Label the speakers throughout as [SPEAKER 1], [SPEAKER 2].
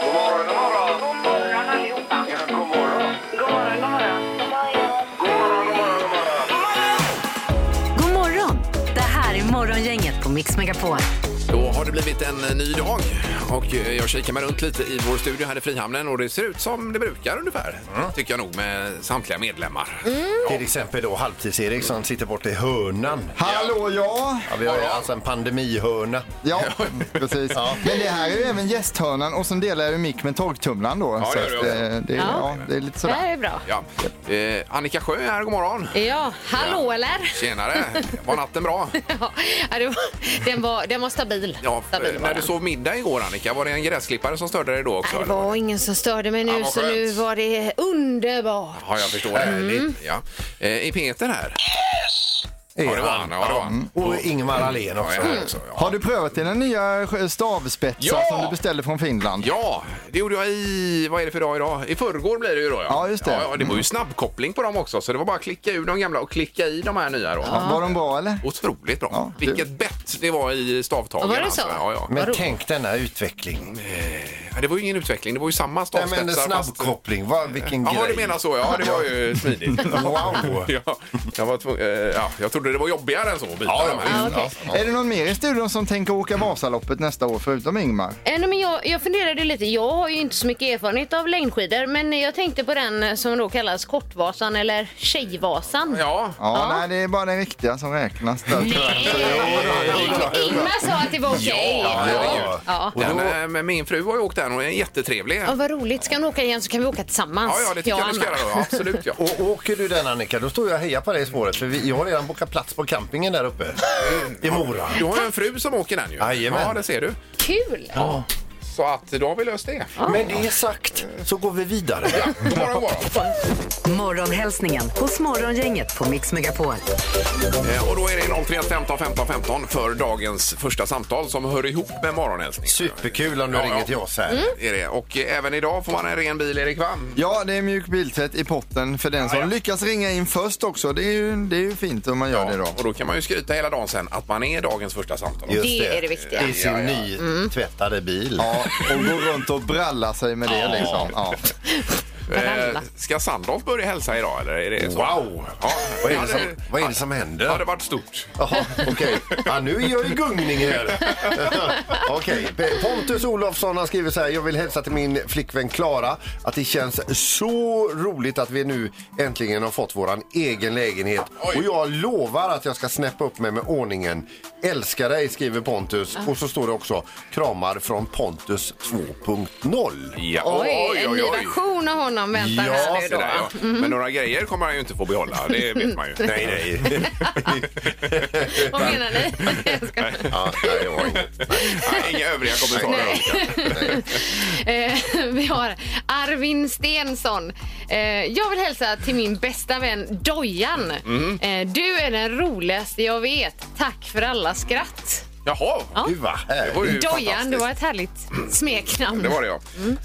[SPEAKER 1] God morgon, god morgon.
[SPEAKER 2] God morgon allihopa.
[SPEAKER 1] Ja, god morgon.
[SPEAKER 2] God morgon, god morgon.
[SPEAKER 1] God morgon, god morgon, god morgon.
[SPEAKER 3] God morgon! Det här är Morgongänget på Mix Megapol.
[SPEAKER 4] Då har det blivit en eh, ny dag och eh, jag kikar mig runt lite i vår studio här i Frihamnen och det ser ut som det brukar ungefär.
[SPEAKER 5] Mm.
[SPEAKER 4] Tycker jag nog med samtliga medlemmar.
[SPEAKER 6] Till exempel då halvtids-Erik som sitter borta i hörnan.
[SPEAKER 7] Hallå ja!
[SPEAKER 6] Ja, vi har ju alltså en pandemihörna.
[SPEAKER 7] Ja, precis. Men det här är ju även gästhörnan och sen delar jag ju mick med torktumlaren då.
[SPEAKER 4] Ja,
[SPEAKER 7] så
[SPEAKER 4] det gör du
[SPEAKER 7] att,
[SPEAKER 4] också.
[SPEAKER 7] eh, det, är- ja. det är lite
[SPEAKER 5] Det
[SPEAKER 7] sådär.
[SPEAKER 5] här är bra.
[SPEAKER 4] Ja. Eh, Annika Sjö är här, god morgon.
[SPEAKER 5] Ja, hallå eller?
[SPEAKER 4] Tjenare! Var natten bra?
[SPEAKER 5] Ja, det var, den, var, den var stabil.
[SPEAKER 4] Ja,
[SPEAKER 5] stabil
[SPEAKER 4] eh,
[SPEAKER 5] var
[SPEAKER 4] när
[SPEAKER 5] den.
[SPEAKER 4] du sov middag igår Annika, var det en gräsklippare som störde dig då också?
[SPEAKER 5] Nej, det
[SPEAKER 4] eller?
[SPEAKER 5] var ingen som störde mig
[SPEAKER 4] Ja,
[SPEAKER 5] nu
[SPEAKER 4] vad
[SPEAKER 5] så
[SPEAKER 4] skönt.
[SPEAKER 5] nu var det underbart.
[SPEAKER 4] Ja, jag förstår.
[SPEAKER 5] Mm.
[SPEAKER 4] Härligt. Ja. Eh, Är Peter här? Ja, det var han. Ja, det var
[SPEAKER 5] Mm.
[SPEAKER 4] han.
[SPEAKER 6] Och Ingemar Ahlén
[SPEAKER 4] Ja,
[SPEAKER 6] också.
[SPEAKER 4] jag är här också, ja.
[SPEAKER 7] Har du prövat dina nya stavspetsar
[SPEAKER 4] Ja!
[SPEAKER 7] som du beställde från Finland?
[SPEAKER 4] Ja, det gjorde jag i... Vad är det för dag idag? I förrgår blir det ju då. Ja,
[SPEAKER 7] Ja, just det.
[SPEAKER 4] Ja, ja, det var ju snabbkoppling på dem också, så det var bara att klicka ur de gamla och klicka i de här nya då.
[SPEAKER 7] Var de bra eller?
[SPEAKER 4] Otroligt bra.
[SPEAKER 7] Ja, det-
[SPEAKER 4] Vilket bett det var i stavtagen.
[SPEAKER 5] Ja, var det så?
[SPEAKER 4] Ja, ja.
[SPEAKER 6] Men tänk denna
[SPEAKER 4] Mm.
[SPEAKER 6] utveckling.
[SPEAKER 4] ja, det var ju ingen utveckling. Det var ju samma
[SPEAKER 6] Nej, men en
[SPEAKER 4] stavspetsar. fast-
[SPEAKER 6] snabbkoppling, vad, vilken
[SPEAKER 4] Ja,
[SPEAKER 6] grej.
[SPEAKER 4] du menar så. Ja, det var ju smidigt.
[SPEAKER 6] Wow.
[SPEAKER 4] ja, jag, var tvungen, eh, ja, jag trodde det var jobbigare än så att byta
[SPEAKER 6] Ja,
[SPEAKER 4] de här.
[SPEAKER 6] ja,
[SPEAKER 5] okej.
[SPEAKER 7] Är det någon mer i studion som tänker åka Vasaloppet nästa år förutom Ingmar?
[SPEAKER 5] Äh, nej, men jag, jag funderade lite, jag har ju inte så mycket erfarenhet av längdskidor men jag tänkte på den eh, som då kallas Kortvasan eller Tjejvasan.
[SPEAKER 4] Ja,
[SPEAKER 7] Ja, nej det är bara den riktiga som räknas där tyvärr. Så,
[SPEAKER 5] Ing- Ingmar sa att det var okej.
[SPEAKER 4] Ja,
[SPEAKER 6] ja.
[SPEAKER 5] Ja.
[SPEAKER 6] Och
[SPEAKER 4] Den,
[SPEAKER 6] då-
[SPEAKER 4] eh, men min fru har ju åkt den och är jättetrevlig.
[SPEAKER 5] Ja, vad roligt, ska hon åka igen så kan vi åka tillsammans.
[SPEAKER 4] Ja, ja, det tycker jag,
[SPEAKER 5] och
[SPEAKER 4] du ska
[SPEAKER 5] Anna.
[SPEAKER 4] göra. då. Absolut, ja.
[SPEAKER 6] Och åker du den Annika, då står jag och hejar på dig i spåret för vi, jag har redan bokat plats på campingen där uppe i Mora.
[SPEAKER 4] Du har ju en fru som åker den ju.
[SPEAKER 6] Jajamän.
[SPEAKER 4] Ja, det ser du.
[SPEAKER 5] Kul!
[SPEAKER 4] Eh, Så att då har vi löst det.
[SPEAKER 6] Med det sagt så går vi vidare.
[SPEAKER 4] God morgon, god morgon.
[SPEAKER 3] Morgonhälsningen hos Morgongänget på Mix Megapol.
[SPEAKER 4] Eh, Och då är det 03 15 15 15 för dagens första samtal som hör ihop med morgonhälsningen.
[SPEAKER 6] Superkul om du
[SPEAKER 4] Ja, ja.
[SPEAKER 6] ringer till oss här.
[SPEAKER 4] Är det. Och eh, även idag får man en ren bil, Erik va?
[SPEAKER 7] Ja, det är mjuk biltvätt i potten för den som
[SPEAKER 4] Ja, ja.
[SPEAKER 7] lyckas ringa in först också. Det är ju, det är ju fint om man gör det då.
[SPEAKER 4] Och då kan man ju skryta hela dagen sen att man är dagens första samtal. Eh,
[SPEAKER 6] Just
[SPEAKER 5] Det är det viktiga.
[SPEAKER 6] I sin
[SPEAKER 4] Ja, Mm. ja.
[SPEAKER 6] nytvättade bil.
[SPEAKER 7] Ja, och gå runt och bralla sig med det liksom. Ja.
[SPEAKER 4] Eh, ska Sandholt börja hälsa idag eller? Är det så?
[SPEAKER 6] Wow!
[SPEAKER 4] Ja,
[SPEAKER 6] Vad är
[SPEAKER 4] ja,
[SPEAKER 6] det som,
[SPEAKER 4] det-
[SPEAKER 6] vad är det som
[SPEAKER 4] Det hade
[SPEAKER 6] händer?
[SPEAKER 4] varit stort.
[SPEAKER 6] Jaha, okej. Ja, nu är jag i gungning här. okej. Pontus Olofsson har skrivit så här. Jag vill hälsa till min flickvän Klara att det känns så roligt att vi nu äntligen har fått våran egen lägenhet.
[SPEAKER 4] Oj.
[SPEAKER 6] Och jag lovar att jag ska snäppa upp mig med ordningen. Älskar dig, skriver Pontus. Och så står det också kramar från Pontus 2.0.
[SPEAKER 4] Ja.
[SPEAKER 5] Oj, en ny version av honom väntar
[SPEAKER 6] Ja,
[SPEAKER 5] här nu
[SPEAKER 4] Så
[SPEAKER 5] då.
[SPEAKER 4] där, ja. Men några grejer kommer han ju inte få behålla, det vet man ju.
[SPEAKER 6] Mm. Nej, nej.
[SPEAKER 5] Vad menar ni? Jag skojar.
[SPEAKER 6] Ja, nej, det var inget.
[SPEAKER 4] Nej, inga övriga kommentarer.
[SPEAKER 5] Nej. Eh, Vi har Arvin Stensson. Eh, Jag vill hälsa till min bästa vän Dojan.
[SPEAKER 4] Mm.
[SPEAKER 5] Eh, Du är den roligaste jag vet. Tack för alla skratt.
[SPEAKER 4] Jaha,
[SPEAKER 6] Gud, vad
[SPEAKER 4] det var
[SPEAKER 6] härligt.
[SPEAKER 4] ju
[SPEAKER 5] Dojan, det
[SPEAKER 4] fantastiskt.
[SPEAKER 5] var ett härligt smeknamn.
[SPEAKER 4] Det var det ja.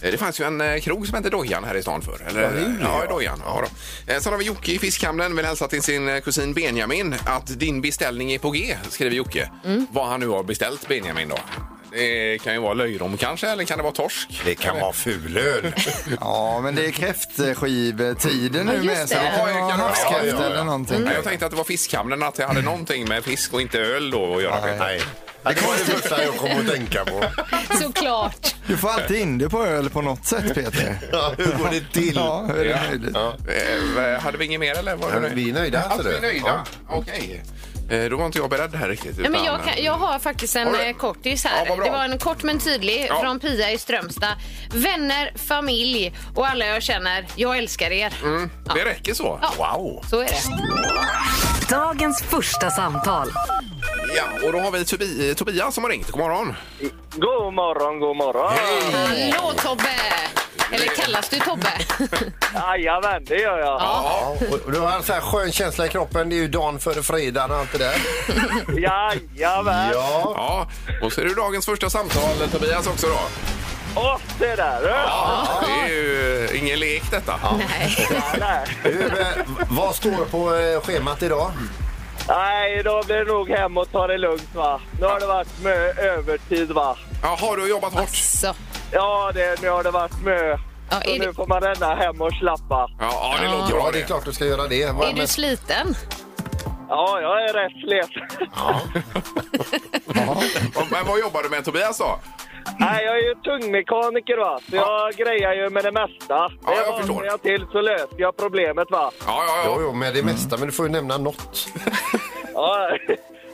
[SPEAKER 4] Eh, Det fanns ju en eh, krog som hette Dojan här i stan förr. Eller, ja, Dojan. Ja, då. Eh, Sen har vi Jocke i Fiskhamnen. Vill hälsa till sin eh, kusin Benjamin att din beställning är på G, skriver Jocke.
[SPEAKER 5] Mm.
[SPEAKER 4] Vad han nu har beställt Benjamin då. Det kan ju vara löjrom kanske, eller kan det vara torsk?
[SPEAKER 6] Det kan vara fulöl.
[SPEAKER 7] Ja, men det är kräftskivetiden nu
[SPEAKER 5] just
[SPEAKER 7] med. Så
[SPEAKER 5] det.
[SPEAKER 7] det kan
[SPEAKER 4] Ja,
[SPEAKER 7] vara
[SPEAKER 4] ja,
[SPEAKER 7] havskräftor
[SPEAKER 6] ja, Mm. ja.
[SPEAKER 7] eller någonting.
[SPEAKER 5] Mm.
[SPEAKER 4] Nej, jag tänkte att det var Fiskhamnen, att det hade någonting med fisk och inte öl då att göra. Peter.
[SPEAKER 6] Nej. Det var det första jag kom att tänka på.
[SPEAKER 5] Såklart.
[SPEAKER 7] Du får alltid in det på öl på något sätt, Peter.
[SPEAKER 6] Ja, hur går det till?
[SPEAKER 7] Ja, hur är
[SPEAKER 4] Ja.
[SPEAKER 7] det möjligt?
[SPEAKER 4] Eh, Hade vi inget mer eller? Var det
[SPEAKER 6] Men Vi är nöjda.
[SPEAKER 4] Alltså,
[SPEAKER 6] ser
[SPEAKER 4] vi
[SPEAKER 6] du.
[SPEAKER 4] är nöjda? Okej. Eh, Då var inte jag beredd här riktigt.
[SPEAKER 5] Ja, men
[SPEAKER 4] utan,
[SPEAKER 5] jag, kan, jag har faktiskt en
[SPEAKER 4] Har du?
[SPEAKER 5] eh, kortis
[SPEAKER 4] Ja,
[SPEAKER 5] här.
[SPEAKER 4] vad bra.
[SPEAKER 5] det var en kort men tydlig
[SPEAKER 4] Ja.
[SPEAKER 5] från Pia i Strömstad. Vänner, familj och alla jag känner. Jag älskar er.
[SPEAKER 4] eh, Det räcker så?
[SPEAKER 5] Ja.
[SPEAKER 6] Wow!
[SPEAKER 5] Så är det.
[SPEAKER 3] Dagens första samtal.
[SPEAKER 4] Ja, och då har vi Tobi, eh, Tobias som har ringt. God morgon.
[SPEAKER 8] God morgon, god morgon!
[SPEAKER 5] Hallå Tobbe! Eller kallas du Tobbe?
[SPEAKER 8] Jajamän, det gör jag.
[SPEAKER 6] Ja, och du har en sån här skön känsla i kroppen. Det är ju dagen före fredagen och allt det där.
[SPEAKER 8] Jajamän!
[SPEAKER 6] Ja.
[SPEAKER 4] Ja, och så är det dagens första samtal eh, Tobias också då.
[SPEAKER 8] Och det där! du.
[SPEAKER 4] Det är ju eh, ingen lek detta.
[SPEAKER 5] Nej.
[SPEAKER 8] Ja, nej.
[SPEAKER 6] Du, eh, vad står på eh, schemat idag?
[SPEAKER 8] Nej, då blir det nog hem och ta det lugnt va. Nu har det varit mycket övertid va.
[SPEAKER 4] Jaha, du har jobbat hårt.
[SPEAKER 5] Så.
[SPEAKER 8] Ja, det, nu har det varit mö.
[SPEAKER 5] Ja,
[SPEAKER 8] Så
[SPEAKER 5] är
[SPEAKER 8] nu
[SPEAKER 5] det-
[SPEAKER 8] får man ränna hem och slappa.
[SPEAKER 4] Ja, ja det låter bra
[SPEAKER 6] Ja, det är klart du ska göra det.
[SPEAKER 5] Är du sliten?
[SPEAKER 8] Ja, jag är rätt slet.
[SPEAKER 4] Och- Men vad jobbar du med Tobias då?
[SPEAKER 8] Nej, jag är ju tungmekaniker va, så jag grejar ju med det mesta.
[SPEAKER 4] Ja, jag
[SPEAKER 8] det
[SPEAKER 4] förstår.
[SPEAKER 8] jag till så löser jag problemet va.
[SPEAKER 4] Ja, ja,
[SPEAKER 6] Jo,
[SPEAKER 4] ja.
[SPEAKER 6] jo, med det mesta, men du får ju nämna något.
[SPEAKER 8] Ja,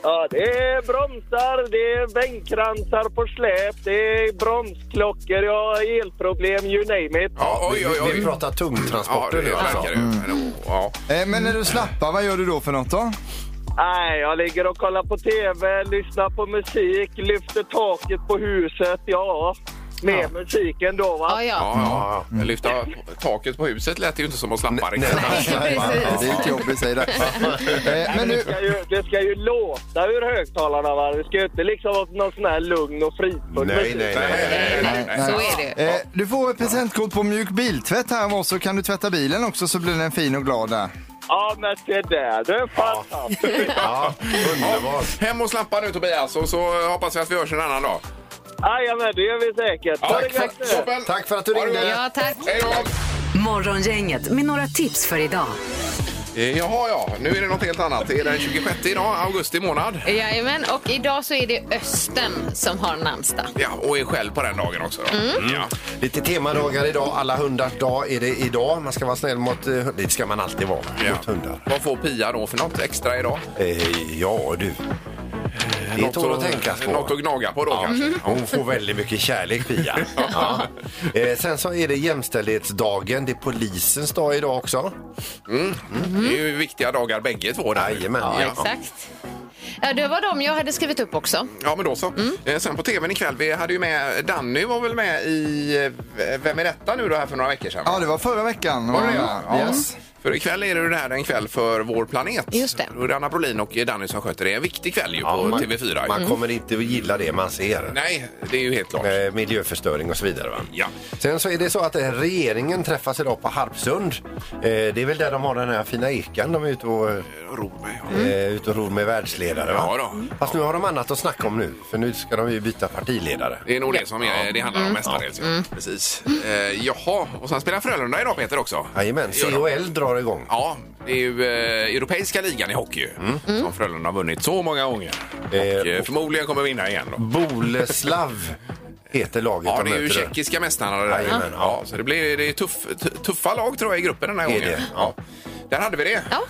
[SPEAKER 8] ja, det är bromsar, det är bänkkransar på släp, det är bromsklockor, jag har elproblem, you name it.
[SPEAKER 4] ja oj, oj,
[SPEAKER 6] Vi
[SPEAKER 4] oj.
[SPEAKER 6] pratar
[SPEAKER 4] Ja,
[SPEAKER 6] tungtransporter
[SPEAKER 4] det
[SPEAKER 6] nu alltså.
[SPEAKER 4] verkar det. Men, Ja.
[SPEAKER 7] Eh, Men när du slappar, vad gör du då för något då?
[SPEAKER 8] Nej, jag ligger och kollar på TV, lyssnar på musik, lyfter taket på huset, ja. Med musiken då va.
[SPEAKER 5] Ja, ja.
[SPEAKER 4] Ja,
[SPEAKER 6] Mm.
[SPEAKER 4] ja. Lyfta taket på huset lät ju inte som att slappa riktigt.
[SPEAKER 7] Ja, det är ett jobb i sig det. Eh, Men
[SPEAKER 8] Det
[SPEAKER 7] nu,
[SPEAKER 8] ska, ju, det ska ju låta ur högtalarna va. Det ska ju inte liksom vara någon sån här lugn och fridfull musik.
[SPEAKER 4] Nej, nej, nej.
[SPEAKER 5] Så är det.
[SPEAKER 7] eh, du får ett presentkort på mjuk biltvätt här av oss så kan du tvätta bilen också så blir den fin och glad där.
[SPEAKER 8] Ja, men se där, du är fantastisk.
[SPEAKER 6] Ja, underbart.
[SPEAKER 4] Hem och slappa nu Tobias och så hoppas vi att vi hörs en annan dag.
[SPEAKER 8] Jajamän, det gör vi säkert. Ha det gött nu.
[SPEAKER 4] Toppen.
[SPEAKER 6] Tack för att du
[SPEAKER 4] Ha det
[SPEAKER 6] ringde.
[SPEAKER 4] gott.
[SPEAKER 5] Ja, tack.
[SPEAKER 4] Hej då!
[SPEAKER 3] Morgongänget med några tips för idag.
[SPEAKER 4] Eh, Jaha, ja. Nu är det något helt annat. Det är den 26 idag, augusti månad.
[SPEAKER 5] Jajamän, och idag så är det Östen som har namnsdag.
[SPEAKER 4] Ja, och är själv på den dagen också. Då.
[SPEAKER 5] Mm.
[SPEAKER 4] Ja.
[SPEAKER 6] Lite temadagar idag. Alla hundars dag är det idag. Man ska vara snäll mot... eh, Det ska man alltid vara
[SPEAKER 4] Ja.
[SPEAKER 6] mot hundar.
[SPEAKER 4] Vad får Pia då för något extra idag?
[SPEAKER 6] Eh, ja, du. Det är något att tänka på.
[SPEAKER 4] Något att gnaga på då kanske.
[SPEAKER 6] Hon får väldigt mycket kärlek, Pia. Ja. Eh, sen så är det jämställdhetsdagen. Det är polisens dag idag också.
[SPEAKER 4] Det är ju viktiga dagar bägge två. där.
[SPEAKER 6] Mm. Jajamän.
[SPEAKER 5] Ja, exakt. Ja, det var de jag hade skrivit upp också.
[SPEAKER 4] Ja, men då så.
[SPEAKER 5] Mm.
[SPEAKER 4] Eh, Sen på tvn ikväll, vi hade ju med Danny var väl med i eh, Vem är detta nu då här för några veckor sedan? va?
[SPEAKER 7] Ja, det var förra veckan.
[SPEAKER 4] Var det
[SPEAKER 7] ja?
[SPEAKER 6] Mm.
[SPEAKER 4] det?
[SPEAKER 7] Yes.
[SPEAKER 4] För ikväll är det ju det här en kväll för vår planet.
[SPEAKER 5] Just det.
[SPEAKER 4] Då är det Anna Brolin och Danny som sköter det. En viktig kväll ju på
[SPEAKER 6] Ja, man,
[SPEAKER 4] TV4.
[SPEAKER 6] man kommer inte att gilla det man ser.
[SPEAKER 4] Mm. Nej, det är ju helt klart.
[SPEAKER 6] Eh, miljöförstöring och så vidare. Va?
[SPEAKER 4] Ja.
[SPEAKER 6] Sen så är det så att eh, regeringen träffas idag på Harpsund. Eh, det är väl där de har den här fina ekan de är ute och, eh,
[SPEAKER 4] Ro mig.
[SPEAKER 6] ute och ror med världsledare. Va?
[SPEAKER 4] Mm. Ja då.
[SPEAKER 6] Fast nu har de annat att snacka om nu, för nu ska de ju byta partiledare.
[SPEAKER 4] Det är nog det som är, det handlar om mestadels. Ja. Precis. Eh, jaha, och sen spelar Frölunda idag Peter också.
[SPEAKER 6] Jajamän,
[SPEAKER 4] Gör de.
[SPEAKER 6] CHL drar igång.
[SPEAKER 4] Ja, det är ju eh, Europeiska ligan i hockey ju,
[SPEAKER 6] Mm.
[SPEAKER 4] som Frölunda har vunnit så många gånger. Och,
[SPEAKER 6] Eh,
[SPEAKER 4] eh, förmodligen kommer vinna igen. Då.
[SPEAKER 6] Boleslav heter laget
[SPEAKER 4] Ja,
[SPEAKER 6] de
[SPEAKER 4] det är ju
[SPEAKER 6] möter.
[SPEAKER 4] tjeckiska mästarna. Det där.
[SPEAKER 6] Jajamän, ja.
[SPEAKER 4] ja, så det blir det är tuff, t- tuffa lag tror jag i gruppen den här
[SPEAKER 6] Är
[SPEAKER 4] gången.
[SPEAKER 6] det? Ja.
[SPEAKER 4] Där hade vi det.
[SPEAKER 5] Ja.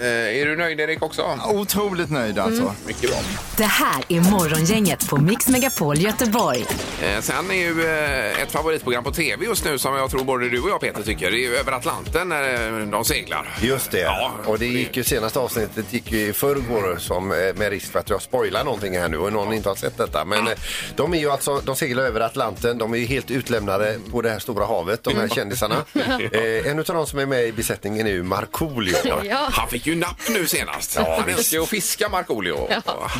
[SPEAKER 4] Eh, är du nöjd Erik också?
[SPEAKER 7] Otroligt nöjd alltså.
[SPEAKER 6] Mm.
[SPEAKER 4] Mycket bra.
[SPEAKER 3] Det här är Morgongänget på Mix Megapol Göteborg.
[SPEAKER 4] Eh, sen är ju eh, ett favoritprogram på tv just nu som jag tror både du och jag Peter tycker. Det är ju Över Atlanten när eh, de seglar.
[SPEAKER 6] Just det.
[SPEAKER 4] Ja,
[SPEAKER 6] och det gick ju senaste avsnittet gick ju i förrgår som eh, med risk för att jag spoilar någonting här nu och någon inte har sett detta. Men eh, de är ju alltså, de seglar över Atlanten. De är ju helt utlämnade på det här stora havet, de här kändisarna. Eh, en av de som är med i besättningen är ju Markoolio.
[SPEAKER 5] Ja.
[SPEAKER 4] Han fick ju napp nu senast. han älskar ju att fiska Markoolio.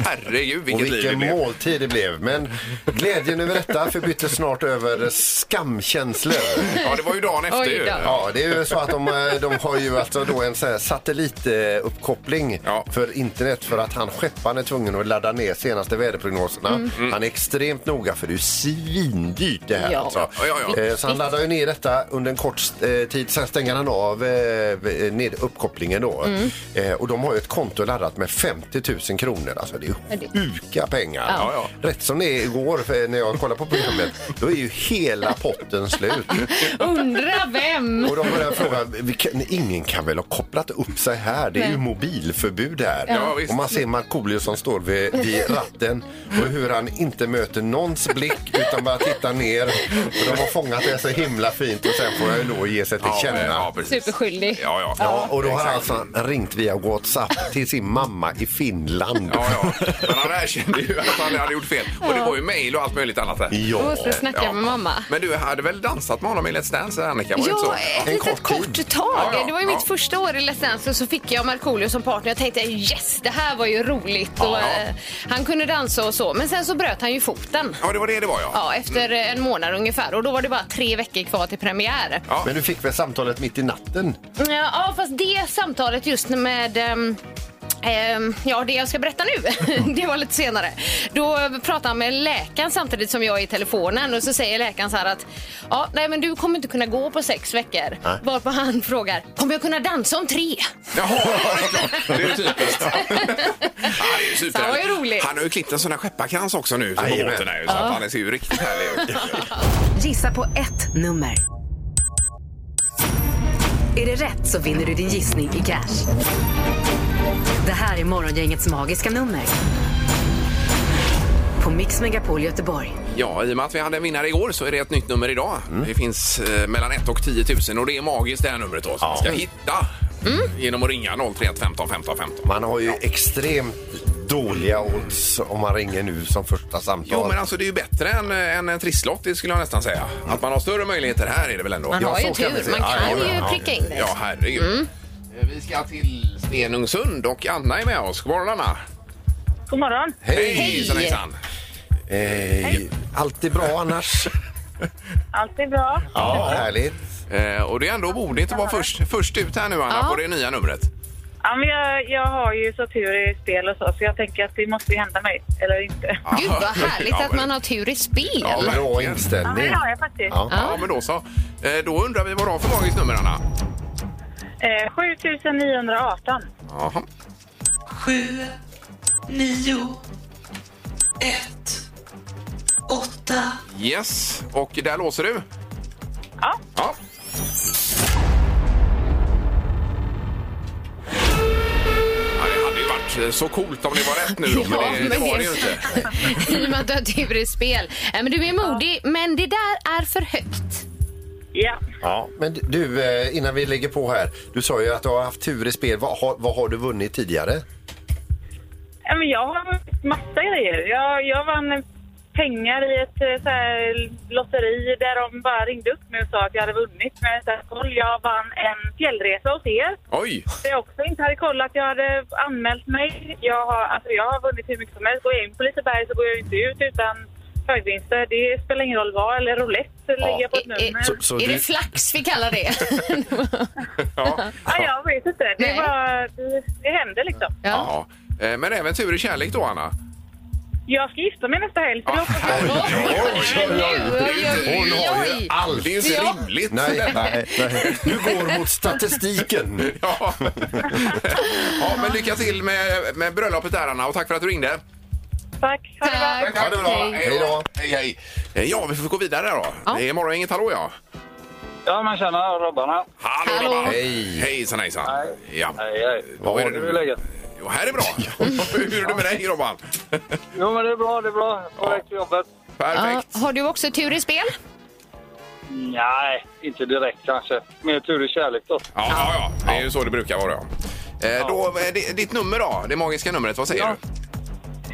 [SPEAKER 4] Herregud
[SPEAKER 6] Och
[SPEAKER 4] vilket liv det
[SPEAKER 6] vilken
[SPEAKER 4] blev.
[SPEAKER 6] måltid det blev. Men glädjen över detta förbyttes snart över skamkänslor.
[SPEAKER 4] Ja, det var ju dagen efter
[SPEAKER 5] Oj
[SPEAKER 4] ju.
[SPEAKER 5] då.
[SPEAKER 6] Ja, det är ju så att de, eh, de har ju alltså då en sån här satellituppkoppling
[SPEAKER 4] Ja.
[SPEAKER 6] för internet för att han skepparen är tvungen att ladda ner senaste väderprognoserna.
[SPEAKER 4] Mm.
[SPEAKER 6] Han är extremt noga för det är ju svindyrt det här
[SPEAKER 5] Ja.
[SPEAKER 6] alltså.
[SPEAKER 4] Ja, ja, ja.
[SPEAKER 6] Eh, Så han laddar ju ner detta under en kort eh, tid, sen stänger han av eh, ned uppkopplingen då.
[SPEAKER 4] Mm.
[SPEAKER 6] Eh, Och de har ju ett konto laddat med 50 000 kronor, alltså det är ju sjuka pengar.
[SPEAKER 4] Ja, ja.
[SPEAKER 6] Rätt som det är igår eh, när jag kollade på programmet, då är ju hela potten slut.
[SPEAKER 5] Undra vem?
[SPEAKER 6] Och de började fråga, vi kan, ingen kan väl ha kopplat upp sig här? Det är ju mobilförbud här.
[SPEAKER 4] Ja, visst.
[SPEAKER 6] och man ser Markoolio som står vid, vid ratten och hur han inte möter någons blick utan bara tittar ner. Och de har fångat det så himla fint och sen får han ju då ge sig till
[SPEAKER 4] Ja,
[SPEAKER 6] känna.
[SPEAKER 4] ja, precis.
[SPEAKER 5] Superskyldig.
[SPEAKER 4] Ja, ja.
[SPEAKER 6] Ja, och då har han alltså ringt via WhatsApp till sin mamma i Finland.
[SPEAKER 4] Ja, ja. Men han erkände ju att han hade gjort fel. Och det var ju mejl och allt möjligt annat där.
[SPEAKER 5] Jag
[SPEAKER 6] Ja.
[SPEAKER 5] måste snacka
[SPEAKER 4] Ja.
[SPEAKER 5] med mamma.
[SPEAKER 4] Men du hade väl dansat med honom i Let's Dance, Annika? Var det inte så?
[SPEAKER 5] Ja, ett
[SPEAKER 6] En
[SPEAKER 5] litet
[SPEAKER 6] kort
[SPEAKER 5] kort,
[SPEAKER 6] tid.
[SPEAKER 5] tag.
[SPEAKER 4] Ja, ja,
[SPEAKER 5] det var ju
[SPEAKER 4] ja.
[SPEAKER 5] mitt första år i Let's Dance och så fick jag Markoolio som partner. Jag tänkte yes, det här var ju roligt. och, eh, han kunde dansa och så, men sen så bröt han ju foten.
[SPEAKER 4] Ja, det var det det var, ja.
[SPEAKER 5] Ja, efter eh, en månad ungefär och då var det bara tre veckor kvar till premiär.
[SPEAKER 4] Ja.
[SPEAKER 6] Men du fick väl samtalet mitt i natten?
[SPEAKER 5] Ja, fast det samtalet just med ehm, Ehm, Ja, det jag ska berätta nu, det var lite senare. Då pratar han med läkaren samtidigt som jag är i telefonen och så säger läkaren så här att ja, nej men du kommer inte kunna gå på sex veckor. Varpå han frågar, kommer jag kunna dansa om tre?
[SPEAKER 4] Jaha, det är klart. Det är typiskt. Ja, det är ju super.
[SPEAKER 5] Det var ju roligt.
[SPEAKER 4] Han har ju klippt en sån här skepparkrans också nu på
[SPEAKER 6] Jajamän.
[SPEAKER 4] båten här, ju, så att han ser ju riktigt härlig ut.
[SPEAKER 3] Gissa på ett nummer. Är det rätt så vinner du din gissning i cash. Det här är Morgongängets magiska nummer. På Mix Megapol Göteborg.
[SPEAKER 4] Ja, i och med att vi hade en vinnare igår så är det ett nytt nummer idag. Det finns eh, mellan 1 och 10 000 och det är magiskt det här numret då. Så man ska hitta genom att ringa 031 15 15 15.
[SPEAKER 6] Man har ju extremt dåliga odds om man ringer nu som första samtal.
[SPEAKER 4] Jo, men alltså det är ju bättre än, eh, än en trisslott, det skulle jag nästan säga. Att man har större möjligheter här är det väl ändå.
[SPEAKER 5] Man
[SPEAKER 6] Ja,
[SPEAKER 5] har ju
[SPEAKER 6] så kan vi
[SPEAKER 5] tur,
[SPEAKER 6] säga.
[SPEAKER 5] man
[SPEAKER 6] Ja,
[SPEAKER 5] kan
[SPEAKER 6] ja,
[SPEAKER 5] ju
[SPEAKER 6] ja.
[SPEAKER 5] pricka in det. Mm.
[SPEAKER 4] Ja, herregud. Eh, Vi ska till Stenungsund och Anna är med oss. God morgon, Anna!
[SPEAKER 2] God morgon.
[SPEAKER 4] Hej! Hejsan, hejsan.
[SPEAKER 6] Eh, allt är bra annars.
[SPEAKER 2] Allt är bra.
[SPEAKER 6] ja. Härligt.
[SPEAKER 4] Eh, och det är ändå modigt att vara först, först ut här nu, Anna,
[SPEAKER 5] Ja.
[SPEAKER 4] på det nya numret.
[SPEAKER 2] Ja, men jag, jag har ju så tur i spel och så, så jag tänker att det måste ju hända mig. Eller inte.
[SPEAKER 5] Gud vad härligt
[SPEAKER 4] Ja,
[SPEAKER 5] att man har tur i spel.
[SPEAKER 4] Ja, men-
[SPEAKER 6] Bra
[SPEAKER 4] verkligen.
[SPEAKER 2] Ja,
[SPEAKER 6] inställning.
[SPEAKER 2] det har jag faktiskt.
[SPEAKER 6] Ja.
[SPEAKER 4] Ja, men då så. Eh, Då undrar vi vad du har för magiskt nummer, Anna.
[SPEAKER 2] Eh, 7918.
[SPEAKER 4] Jaha.
[SPEAKER 9] Sju, nio, ett, åtta.
[SPEAKER 4] Yes, och där låser du?
[SPEAKER 2] Ja.
[SPEAKER 4] Ja. Ja, det hade ju varit eh, så coolt om det var rätt nu då, men
[SPEAKER 5] Ja,
[SPEAKER 4] det, det
[SPEAKER 5] men
[SPEAKER 4] var det
[SPEAKER 5] det-
[SPEAKER 4] ju inte.
[SPEAKER 5] I och med att du har tur i spel. Nej, men du är modig, men det där är för högt.
[SPEAKER 2] Ja.
[SPEAKER 6] Ja, men du, eh, innan vi lägger på här. Du sa ju att du har haft tur i spel. Vad har, vad har du vunnit tidigare?
[SPEAKER 2] ja men jag har vunnit massa grejer. Jag, jag vann pengar i ett eh, så här, lotteri där de bara ringde upp mig och sa att jag hade vunnit. Men jag hade inte haft koll. Jag vann en fjällresa hos er.
[SPEAKER 4] Oj!
[SPEAKER 2] Det jag också inte hade kollat. Jag hade anmält mig. Jag har, alltså jag har vunnit hur mycket som helst. Går jag in på Liseberg så går jag inte ut utan högvinster. Det spelar ingen roll vad. Eller roulette lägger jag på ett
[SPEAKER 5] I- i-
[SPEAKER 2] nummer.
[SPEAKER 6] Så- så
[SPEAKER 5] är
[SPEAKER 6] du-
[SPEAKER 5] det flax vi kallar det?
[SPEAKER 4] Ja.
[SPEAKER 2] Ja, jag vet inte. Det,
[SPEAKER 5] Nej.
[SPEAKER 2] var, det, det hände liksom.
[SPEAKER 5] ja.
[SPEAKER 4] Ja. Eh, Men även tur i kärlek då, Anna?
[SPEAKER 2] Jag ska gifta mig nästa helg. Så det hoppas jag.
[SPEAKER 4] Herregud.
[SPEAKER 5] Oj, oj,
[SPEAKER 6] Hon
[SPEAKER 5] oj,
[SPEAKER 6] har ju
[SPEAKER 5] oj.
[SPEAKER 6] allt.
[SPEAKER 4] Det är ju inte rimligt.
[SPEAKER 6] Nej,
[SPEAKER 7] Nej, nej.
[SPEAKER 6] du går mot statistiken.
[SPEAKER 4] Ja. ja, men lycka till med, med bröllopet där Anna och tack för att du ringde.
[SPEAKER 2] Tack. Ha det bra.
[SPEAKER 5] Tack.
[SPEAKER 4] Ha det bra.
[SPEAKER 5] Hej.
[SPEAKER 4] Hej då. Hej, hej. Eh, Ja, vi får gå vidare då.
[SPEAKER 5] Ja.
[SPEAKER 4] Det är morgon, inget hallå ja.
[SPEAKER 8] Ja, men tjena Robban
[SPEAKER 4] Hallå,
[SPEAKER 5] Hallå.
[SPEAKER 4] grabbar.
[SPEAKER 6] Hej.
[SPEAKER 4] Hejsan hejsan. Ja.
[SPEAKER 8] Hej, hej.
[SPEAKER 4] Vad
[SPEAKER 8] Vad
[SPEAKER 4] är
[SPEAKER 8] har
[SPEAKER 4] det
[SPEAKER 8] du
[SPEAKER 4] du-
[SPEAKER 8] i läget?
[SPEAKER 4] Jo, här är bra. Hur är det med dig Robban?
[SPEAKER 8] Jo, men det är bra, det är bra. På väg till jobbet.
[SPEAKER 5] Ja,
[SPEAKER 4] Perfekt.
[SPEAKER 5] har du också tur i spel?
[SPEAKER 8] Nej, inte direkt kanske. Mer tur i kärlek då.
[SPEAKER 4] Ja, ja, ja. Det är ju så det brukar vara. Ja. Eh, Då, eh, di- ditt nummer då, det magiska numret, vad säger
[SPEAKER 8] Ja.
[SPEAKER 4] du?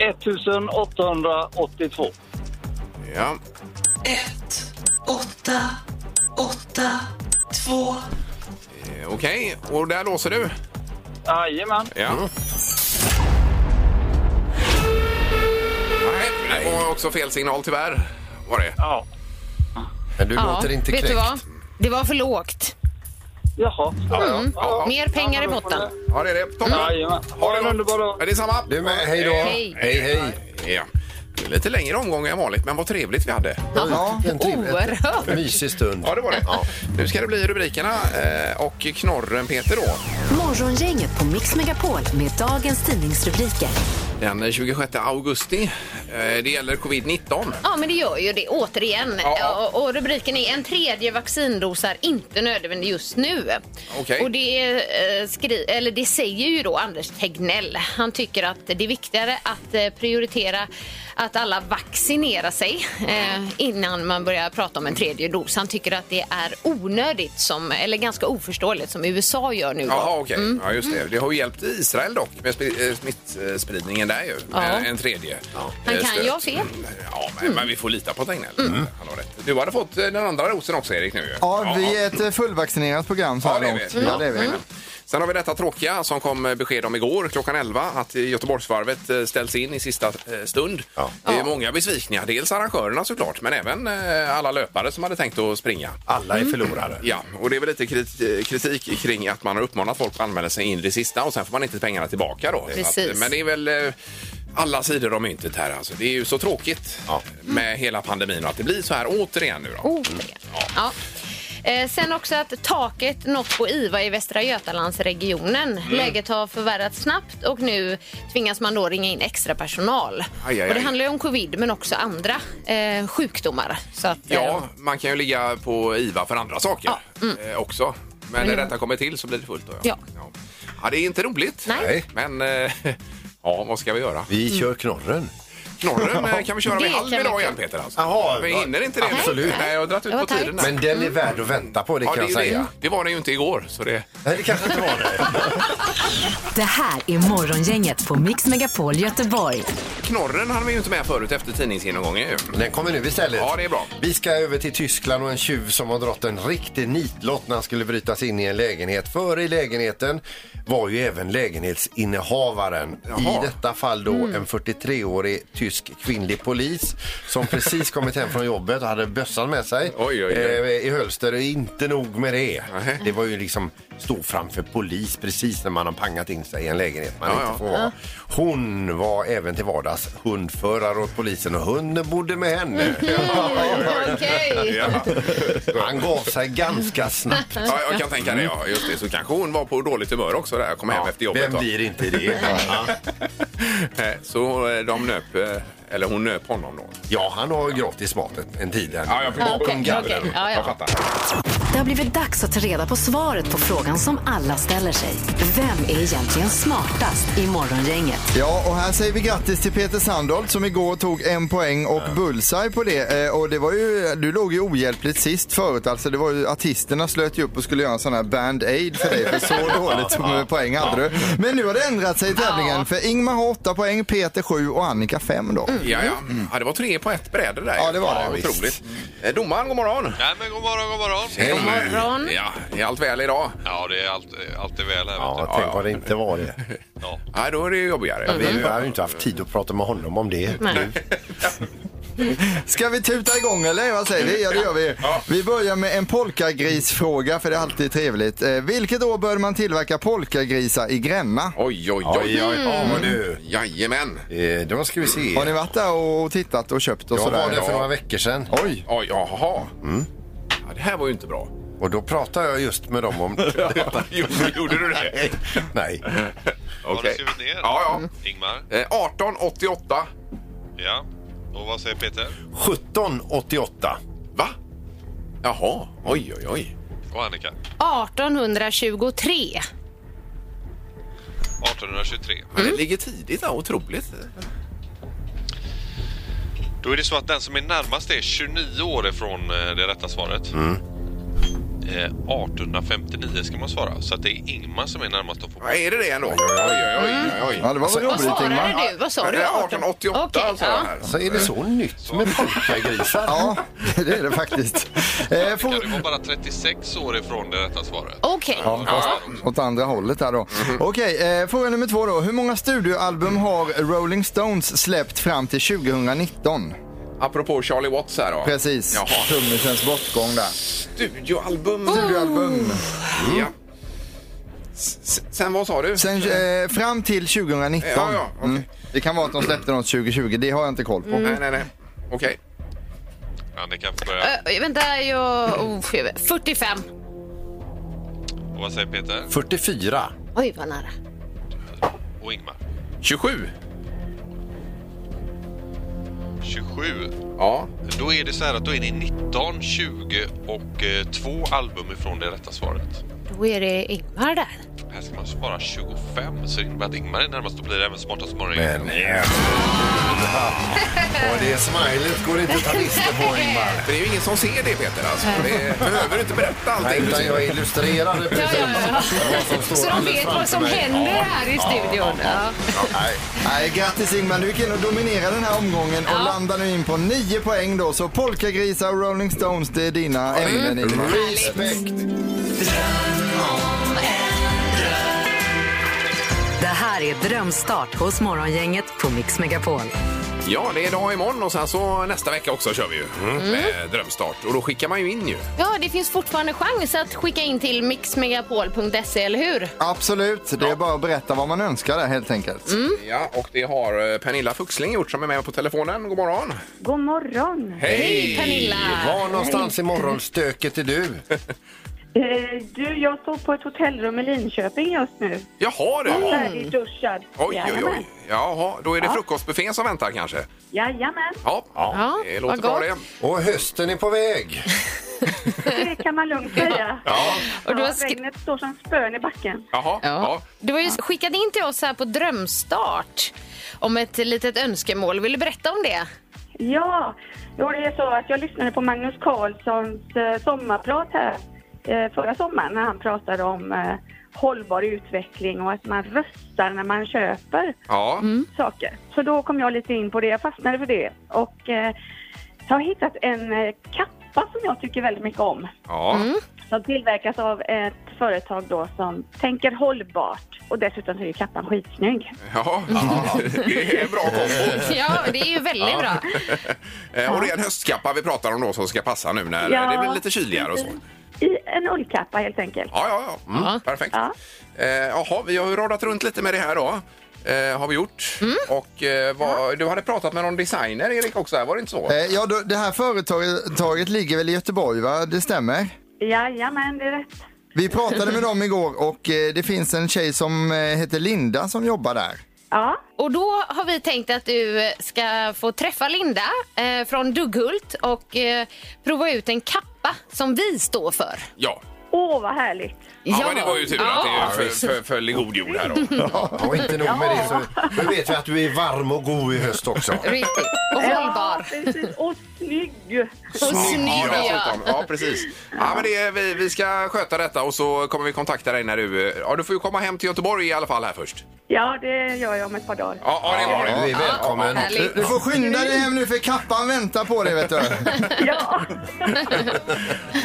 [SPEAKER 8] 1882.
[SPEAKER 4] Ja.
[SPEAKER 9] Ett, åtta, åtta, två.
[SPEAKER 4] Eh, Okej, och där låser du?
[SPEAKER 8] Jajamän.
[SPEAKER 4] Ja. Nej, det var också fel signal tyvärr. Var det?
[SPEAKER 8] Ja.
[SPEAKER 6] Men du låter inte
[SPEAKER 5] vet du
[SPEAKER 6] knäckt.
[SPEAKER 5] vad? Det var för lågt.
[SPEAKER 8] Jaha.
[SPEAKER 4] Ja, ja.
[SPEAKER 5] Mer pengar i botten.
[SPEAKER 4] ja det är det. Toppen.
[SPEAKER 8] Jajamän. Ha en underbar dag.
[SPEAKER 4] Ja, det är samma.
[SPEAKER 6] Du med, hej då.
[SPEAKER 5] Hej.
[SPEAKER 6] hej. hej.
[SPEAKER 4] Ja. Det är Lite längre omgång än vanligt, men vad trevligt vi hade.
[SPEAKER 6] Ja, en trevlig-
[SPEAKER 5] Oerhört.
[SPEAKER 6] en mysig stund.
[SPEAKER 4] Ja, det var det. Nu ska det bli rubrikerna eh, och knorren Peter då.
[SPEAKER 3] Morgongänget på Mix Megapol med dagens tidningsrubriker.
[SPEAKER 4] Den 26 augusti. Eh, det gäller covid-19.
[SPEAKER 5] Ja, men det gör ju det återigen.
[SPEAKER 4] Ja.
[SPEAKER 5] Och, och rubriken är en tredje vaccindos är inte nödvändig just nu.
[SPEAKER 4] Okej.
[SPEAKER 5] Och det, är, eh, skri- eller det säger ju då Anders Tegnell. Han tycker att det är viktigare att eh, prioritera att alla vaccinerar sig eh, innan man börjar prata om en tredje dos. Han tycker att det är onödigt, som, eller ganska oförståeligt, som USA gör nu. då.
[SPEAKER 4] Jaha, okej. Ja, just det. Det har ju hjälpt Israel dock med sp- eh, smittspridningen där ju.
[SPEAKER 5] Ja.
[SPEAKER 4] Med En tredje. Ja.
[SPEAKER 5] Han kan ju ha fel.
[SPEAKER 4] Ja, men, men vi får lita på Tegnell. Han har rätt. Du hade fått eh, den andra rosen också, Erik, nu ju.
[SPEAKER 7] Ja, vi är ett eh, fullvaccinerat program så
[SPEAKER 4] Ja, Mm.
[SPEAKER 7] här
[SPEAKER 4] det är
[SPEAKER 7] långt.
[SPEAKER 4] vi.
[SPEAKER 7] Ja, det är vi.
[SPEAKER 4] Sen har vi detta tråkiga som kom besked om igår klockan 11 att Göteborgsvarvet eh, ställs in i sista eh, stund.
[SPEAKER 6] Ja.
[SPEAKER 4] Det är
[SPEAKER 5] Ja.
[SPEAKER 4] många besvikningar. Dels arrangörerna såklart men även eh, alla löpare som hade tänkt att springa.
[SPEAKER 6] Alla är förlorare.
[SPEAKER 4] Mm. Ja, och det är väl lite kriti- kritik kring att man har uppmanat folk att anmäla sig in i det sista och sen får man inte pengarna tillbaka då.
[SPEAKER 5] Precis.
[SPEAKER 4] Så Att, men det är väl eh, alla sidor om myntet här alltså. Det är ju så tråkigt
[SPEAKER 6] Ja.
[SPEAKER 4] med hela pandemin och att det blir så här återigen nu då.
[SPEAKER 5] Återigen. Ja. Eh, Sen också att taket nått på IVA i Västra Götalandsregionen. Läget har förvärrats snabbt och nu tvingas man då ringa in extra personal.
[SPEAKER 4] aj, aj.
[SPEAKER 5] Och det handlar ju om covid men också andra eh, sjukdomar. Så att, eh,
[SPEAKER 4] Ja, man kan ju ligga på IVA för andra saker
[SPEAKER 5] Ja, mm.
[SPEAKER 4] eh, också. Men när detta kommer till så blir det fullt då.
[SPEAKER 5] Ja.
[SPEAKER 4] ja. Ja, det är inte roligt.
[SPEAKER 5] Nej.
[SPEAKER 6] Nej.
[SPEAKER 4] Men eh, ja, vad ska vi göra?
[SPEAKER 6] Vi kör knorren.
[SPEAKER 4] Knorren eh, kan vi köra
[SPEAKER 5] Det
[SPEAKER 4] vid halv
[SPEAKER 5] kan vi
[SPEAKER 4] idag
[SPEAKER 5] köra.
[SPEAKER 4] igen Peter. Alltså.
[SPEAKER 6] Jaha,
[SPEAKER 4] vi
[SPEAKER 6] va-
[SPEAKER 4] hinner inte det. nu.
[SPEAKER 6] absolut.
[SPEAKER 4] Nej, jag har dragit ut
[SPEAKER 5] Det
[SPEAKER 4] på
[SPEAKER 5] var
[SPEAKER 4] tiden.
[SPEAKER 5] tajt.
[SPEAKER 4] här.
[SPEAKER 6] Men den är värd att vänta på, det
[SPEAKER 4] Ja,
[SPEAKER 6] kan
[SPEAKER 4] det,
[SPEAKER 6] jag
[SPEAKER 4] är ju det.
[SPEAKER 6] säga.
[SPEAKER 4] det var den ju inte igår. Så det...
[SPEAKER 6] Nej, det kanske inte var det.
[SPEAKER 3] Det här är Morgongänget på Mix Megapol Göteborg.
[SPEAKER 4] Knorren hann vi ju inte med förut efter tidningsgenomgången. ju.
[SPEAKER 6] Den kommer nu istället.
[SPEAKER 4] Ja, det är bra.
[SPEAKER 6] Vi ska över till Tyskland och en tjuv som har dragit en riktig nitlott när han skulle bryta sig in i en lägenhet. Före i lägenheten var ju även lägenhetsinnehavaren.
[SPEAKER 4] Jaha.
[SPEAKER 6] I detta fall då en 43-årig tysk kvinnlig polis som precis kommit hem från jobbet och hade bössan med sig
[SPEAKER 4] Oj, oj, oj.
[SPEAKER 6] eh, i hölster. Och inte nog med det.
[SPEAKER 4] Nej.
[SPEAKER 6] Det var ju liksom stå framför polis precis när man har pangat in sig i en lägenhet man
[SPEAKER 4] Ja,
[SPEAKER 6] inte
[SPEAKER 4] ja.
[SPEAKER 6] får vara. Hon var även till vardags hundförare åt polisen och hunden bodde med henne.
[SPEAKER 5] Okej.
[SPEAKER 4] Ja.
[SPEAKER 6] Han gav sig ganska snabbt.
[SPEAKER 4] Ja, jag kan tänka det. Ja, just det. Så kanske hon var på dåligt humör också där. Jag kom hem efter jobbet.
[SPEAKER 6] Vem
[SPEAKER 4] va?
[SPEAKER 6] blir inte det?
[SPEAKER 4] Eh, Så eh, de nöp, eh, eller hon nöp honom då.
[SPEAKER 6] Ja, han har ju gratis maten en tid än.
[SPEAKER 4] Ja, jag förstår.
[SPEAKER 6] Bakom gallren.
[SPEAKER 5] okej. Ja, ja.
[SPEAKER 4] Jag fattar.
[SPEAKER 3] Det har blivit dags att ta reda på svaret på frågan som alla ställer sig. Vem är egentligen smartast i Morgongänget?
[SPEAKER 7] Ja, och här säger vi grattis till Peter Sandholt som igår tog en poäng och bullseye på det. Eh, Och det var ju, du låg ju ohjälpligt sist förut. Alltså det var ju, artisterna slöt ju upp och skulle göra en sån här band-aid för dig. För så dåligt som eh, poäng hade du. Men nu har det ändrat sig i tävlingen. För Ingmar har åtta poäng, Peter sju och Annika fem då.
[SPEAKER 4] Ja, ja. ja, det var tre på ett bräde där.
[SPEAKER 7] Ja, det var det, visst.
[SPEAKER 4] Otroligt. Eh, Domaren, god morgon.
[SPEAKER 10] Nej men god morgon, god morgon.
[SPEAKER 5] God morgon.
[SPEAKER 4] Ja, är allt väl idag?
[SPEAKER 10] Ja det är allt, allt är väl här vet
[SPEAKER 6] Ja, tänk vad det inte var det.
[SPEAKER 10] du. Ja.
[SPEAKER 4] Nej, då är det ju jobbigare.
[SPEAKER 6] Vi
[SPEAKER 5] Mm.
[SPEAKER 6] har ju inte haft tid att prata med honom om det.
[SPEAKER 5] Nej.
[SPEAKER 7] Ska vi tuta igång eller vad säger vi? Ja det gör vi. Vi börjar med en polkagrisfråga för det är alltid trevligt. Eh, vilket år började man tillverka polkagrisar i Gränna?
[SPEAKER 4] Oj, oj, oj.
[SPEAKER 6] Oj, oj,
[SPEAKER 4] Mm.
[SPEAKER 6] ja, men du.
[SPEAKER 4] Jajamän.
[SPEAKER 6] Eh, Då ska vi se.
[SPEAKER 7] Har ni varit där och tittat och köpt och
[SPEAKER 6] Jag
[SPEAKER 7] sådär?
[SPEAKER 6] var där för några veckor sedan.
[SPEAKER 7] Oj!
[SPEAKER 4] Oj, jaha. Ja, det här var ju inte bra.
[SPEAKER 6] Och då pratade jag just med dem om...
[SPEAKER 4] gjorde, gjorde du det?
[SPEAKER 6] Nej.
[SPEAKER 10] Har du
[SPEAKER 4] Okej.
[SPEAKER 10] skrivit ner?
[SPEAKER 4] Ja,
[SPEAKER 10] Ingmar?
[SPEAKER 4] ja. Eh, 1888.
[SPEAKER 10] Ja. Och vad säger Peter?
[SPEAKER 6] 1788.
[SPEAKER 4] Va? Jaha. Oj, oj, oj.
[SPEAKER 10] Och Annika?
[SPEAKER 5] 1823.
[SPEAKER 10] 1823.
[SPEAKER 4] Men
[SPEAKER 5] Mm.
[SPEAKER 4] Det ligger tidigt där. Otroligt.
[SPEAKER 10] Då är det så att den som är närmast är 29 år ifrån eh, det rätta svaret. Eh, 1859 ska man svara. Så att det är Ingmar som är närmast att få
[SPEAKER 4] Ja, är det det ändå? Oj, oj, oj. oj, oj.
[SPEAKER 7] Ja det var väl
[SPEAKER 5] Vad
[SPEAKER 7] roligt Ingmar?
[SPEAKER 5] svarade du? Vad sa
[SPEAKER 4] Ja,
[SPEAKER 5] du?
[SPEAKER 4] det är 1888
[SPEAKER 5] Okej,
[SPEAKER 4] alltså.
[SPEAKER 5] ja.
[SPEAKER 4] Här.
[SPEAKER 6] Så är det så nytt med polkagrisar?
[SPEAKER 7] Ja, det är det faktiskt. Eh,
[SPEAKER 10] Ja,
[SPEAKER 7] får...
[SPEAKER 10] du var bara 36 år ifrån det rätta svaret.
[SPEAKER 5] Okej.
[SPEAKER 7] Ja, fast åt andra hållet där då. Okej, eh, fråga nummer två då. Hur många studioalbum har Rolling Stones släppt fram till 2019?
[SPEAKER 4] Apropå Charlie Watts här då.
[SPEAKER 7] Precis,
[SPEAKER 4] Jaha.
[SPEAKER 7] trummisens bortgång där.
[SPEAKER 4] Mm. Studioalbum.
[SPEAKER 7] Studioalbum.
[SPEAKER 4] Ja. S- s- Sen vad sa du?
[SPEAKER 7] Sen, eh, fram till 2019.
[SPEAKER 4] Ja, ja, okej. Mm.
[SPEAKER 7] Det kan vara att de släppte något 2020, det har jag inte koll på.
[SPEAKER 4] Nej, nej, nej. Okej.
[SPEAKER 10] Annika får börja.
[SPEAKER 5] Ö, Eh, vänta, jag... Oh, jag vet. 45.
[SPEAKER 10] Och vad säger Peter?
[SPEAKER 6] 44.
[SPEAKER 5] Oj, vad nära.
[SPEAKER 10] Och Ingmar?
[SPEAKER 4] 27.
[SPEAKER 10] 27.
[SPEAKER 4] Ja.
[SPEAKER 10] Då är det så här att då är ni 19, 20 och eh, två album ifrån det rätta svaret.
[SPEAKER 5] Då är det Ingmar där.
[SPEAKER 10] Här ska man svara 25 så det innebär att Ingmar är närmast och blir även smartast morgon.
[SPEAKER 6] Men... Och det smilet går inte att ta miste på, Ingmar.
[SPEAKER 4] För det är ju ingen som ser det, Peter. Alltså. Det behöver inte berätta
[SPEAKER 6] Nej,
[SPEAKER 4] allting. du
[SPEAKER 6] utan
[SPEAKER 4] ser.
[SPEAKER 6] jag illustrerade precis
[SPEAKER 5] Ja, ja, ja.
[SPEAKER 6] vad som står
[SPEAKER 5] Så de
[SPEAKER 6] alldeles
[SPEAKER 5] vet
[SPEAKER 6] framför
[SPEAKER 5] vad som
[SPEAKER 6] mig.
[SPEAKER 5] händer
[SPEAKER 6] Ja.
[SPEAKER 5] här i studion. Ja.
[SPEAKER 6] Nej.
[SPEAKER 7] Nej, grattis Ingmar, du gick in och dominerade den här omgången och
[SPEAKER 5] Ja.
[SPEAKER 7] landar nu in på 9 poäng då. Så polkagrisar och Rolling Stones, det är dina ämnen. Ingmar.
[SPEAKER 6] Respekt.
[SPEAKER 9] Dröm om en dröm
[SPEAKER 3] här är Drömstart hos Morgongänget på Mix Megapol.
[SPEAKER 4] Ja, det är idag och imorgon och sen så nästa vecka också kör vi ju med drömstart. Och då skickar man ju in ju.
[SPEAKER 5] Ja, det finns fortfarande chans att skicka in till mixmegapol.se, eller hur?
[SPEAKER 7] Absolut, det är bara att berätta vad man önskar där helt enkelt.
[SPEAKER 4] Ja, och det har eh, Pernilla Fuxling gjort som är med på telefonen. God morgon!
[SPEAKER 11] God morgon.
[SPEAKER 4] Hej!
[SPEAKER 5] Hej, Pernilla!
[SPEAKER 6] Var någonstans i morgonstöket är du?
[SPEAKER 11] Eh, du, jag står på ett hotellrum i Linköping just nu.
[SPEAKER 5] Mm.
[SPEAKER 4] Jaha du!
[SPEAKER 11] Färdigduschad.
[SPEAKER 4] Oj, oj,
[SPEAKER 11] Jajamän.
[SPEAKER 4] oj. Jaha, då är det frukostbuffén som väntar kanske?
[SPEAKER 11] Jajamän,
[SPEAKER 4] Ja,
[SPEAKER 5] Ja,
[SPEAKER 4] det
[SPEAKER 5] vad
[SPEAKER 4] låter bra
[SPEAKER 5] gott.
[SPEAKER 4] det.
[SPEAKER 6] Och hösten är på väg.
[SPEAKER 11] det kan man lugnt säga.
[SPEAKER 4] Ja,
[SPEAKER 5] Och du har
[SPEAKER 11] Ja,
[SPEAKER 5] skri-
[SPEAKER 11] regnet står som spön i backen.
[SPEAKER 4] jaha, ja.
[SPEAKER 5] Ja. Du har ju skickat in till oss här på Drömstart om ett litet önskemål. Vill du berätta om det?
[SPEAKER 11] Ja, jo, det är så att jag lyssnade på Magnus Carlssons eh, sommarprat här eh, förra sommaren när han pratade om eh, hållbar utveckling och att man röstar när man köper
[SPEAKER 4] ja.
[SPEAKER 11] saker. Så då kom jag lite in på det, jag fastnade för det och eh, jag har hittat en eh, kappa som jag tycker väldigt mycket om
[SPEAKER 4] ja.
[SPEAKER 11] som tillverkas av ett företag då som tänker hållbart och dessutom så är ju kappan skitsnygg.
[SPEAKER 4] Jaha, det är en bra kombo.
[SPEAKER 5] Ja, det är ju väldigt bra.
[SPEAKER 4] Eh, Och det är en höstkappa vi pratar om då som ska passa nu när
[SPEAKER 11] Ja.
[SPEAKER 4] det blir lite kyligare och så.
[SPEAKER 11] I en ullkappa helt enkelt.
[SPEAKER 4] Ja, ja, ja. Mm. Perfekt.
[SPEAKER 11] Ja.
[SPEAKER 4] Eh, jaha, vi har ju radat runt lite med det här då. Eh, har vi gjort. Och eh, vad, du hade pratat med någon designer, Erik, också. här, Var det inte så?
[SPEAKER 7] Eh, Ja, då, det här företaget ligger väl i Göteborg, va? Det stämmer?
[SPEAKER 11] Jajamän, det är rätt.
[SPEAKER 7] Vi pratade med dem igår och eh, det finns en tjej som eh, heter Linda som jobbar där.
[SPEAKER 11] Ja,
[SPEAKER 5] Och då har vi tänkt att du ska få träffa Linda eh, från Dugghult och eh, prova ut en kappa som vi står för.
[SPEAKER 4] Ja.
[SPEAKER 11] åh vad härligt.
[SPEAKER 4] Ja, men det var ju tur att
[SPEAKER 5] Ja.
[SPEAKER 4] det för, för, föll i god jord här då.
[SPEAKER 6] Och inte nog med det, så nu vet vi att du är varm och god i höst också.
[SPEAKER 5] Riktigt. Och hållbar.
[SPEAKER 11] Ja, precis. Och snygg.
[SPEAKER 5] Och snygg.
[SPEAKER 4] Ja,
[SPEAKER 5] ja.
[SPEAKER 4] dessutom. Ja, precis. Ja, men det är, vi, vi ska sköta detta och så kommer vi kontakta dig när du... eh, Ja, du får ju komma hem till Göteborg i alla fall här först.
[SPEAKER 11] Ja, det gör jag om ett par dagar.
[SPEAKER 4] Ja, ja det var
[SPEAKER 6] Du
[SPEAKER 4] det.
[SPEAKER 6] är välkommen.
[SPEAKER 5] härligt.
[SPEAKER 7] Du, du får skynda dig hem nu för kappan väntar på dig, vet du.
[SPEAKER 11] Ja,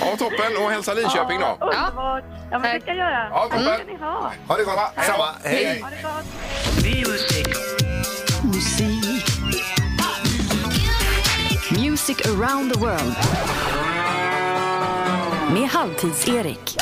[SPEAKER 4] Ja, toppen. Och hälsa Linköping då.
[SPEAKER 11] underbart. Ja, men det ska jag göra.
[SPEAKER 4] Ja, toppen.
[SPEAKER 11] Tack ska ni ha.
[SPEAKER 6] Ha det gott. Samma. Hej.
[SPEAKER 11] Ha det gott.
[SPEAKER 3] Music around the world. Med Halvtids-Erik.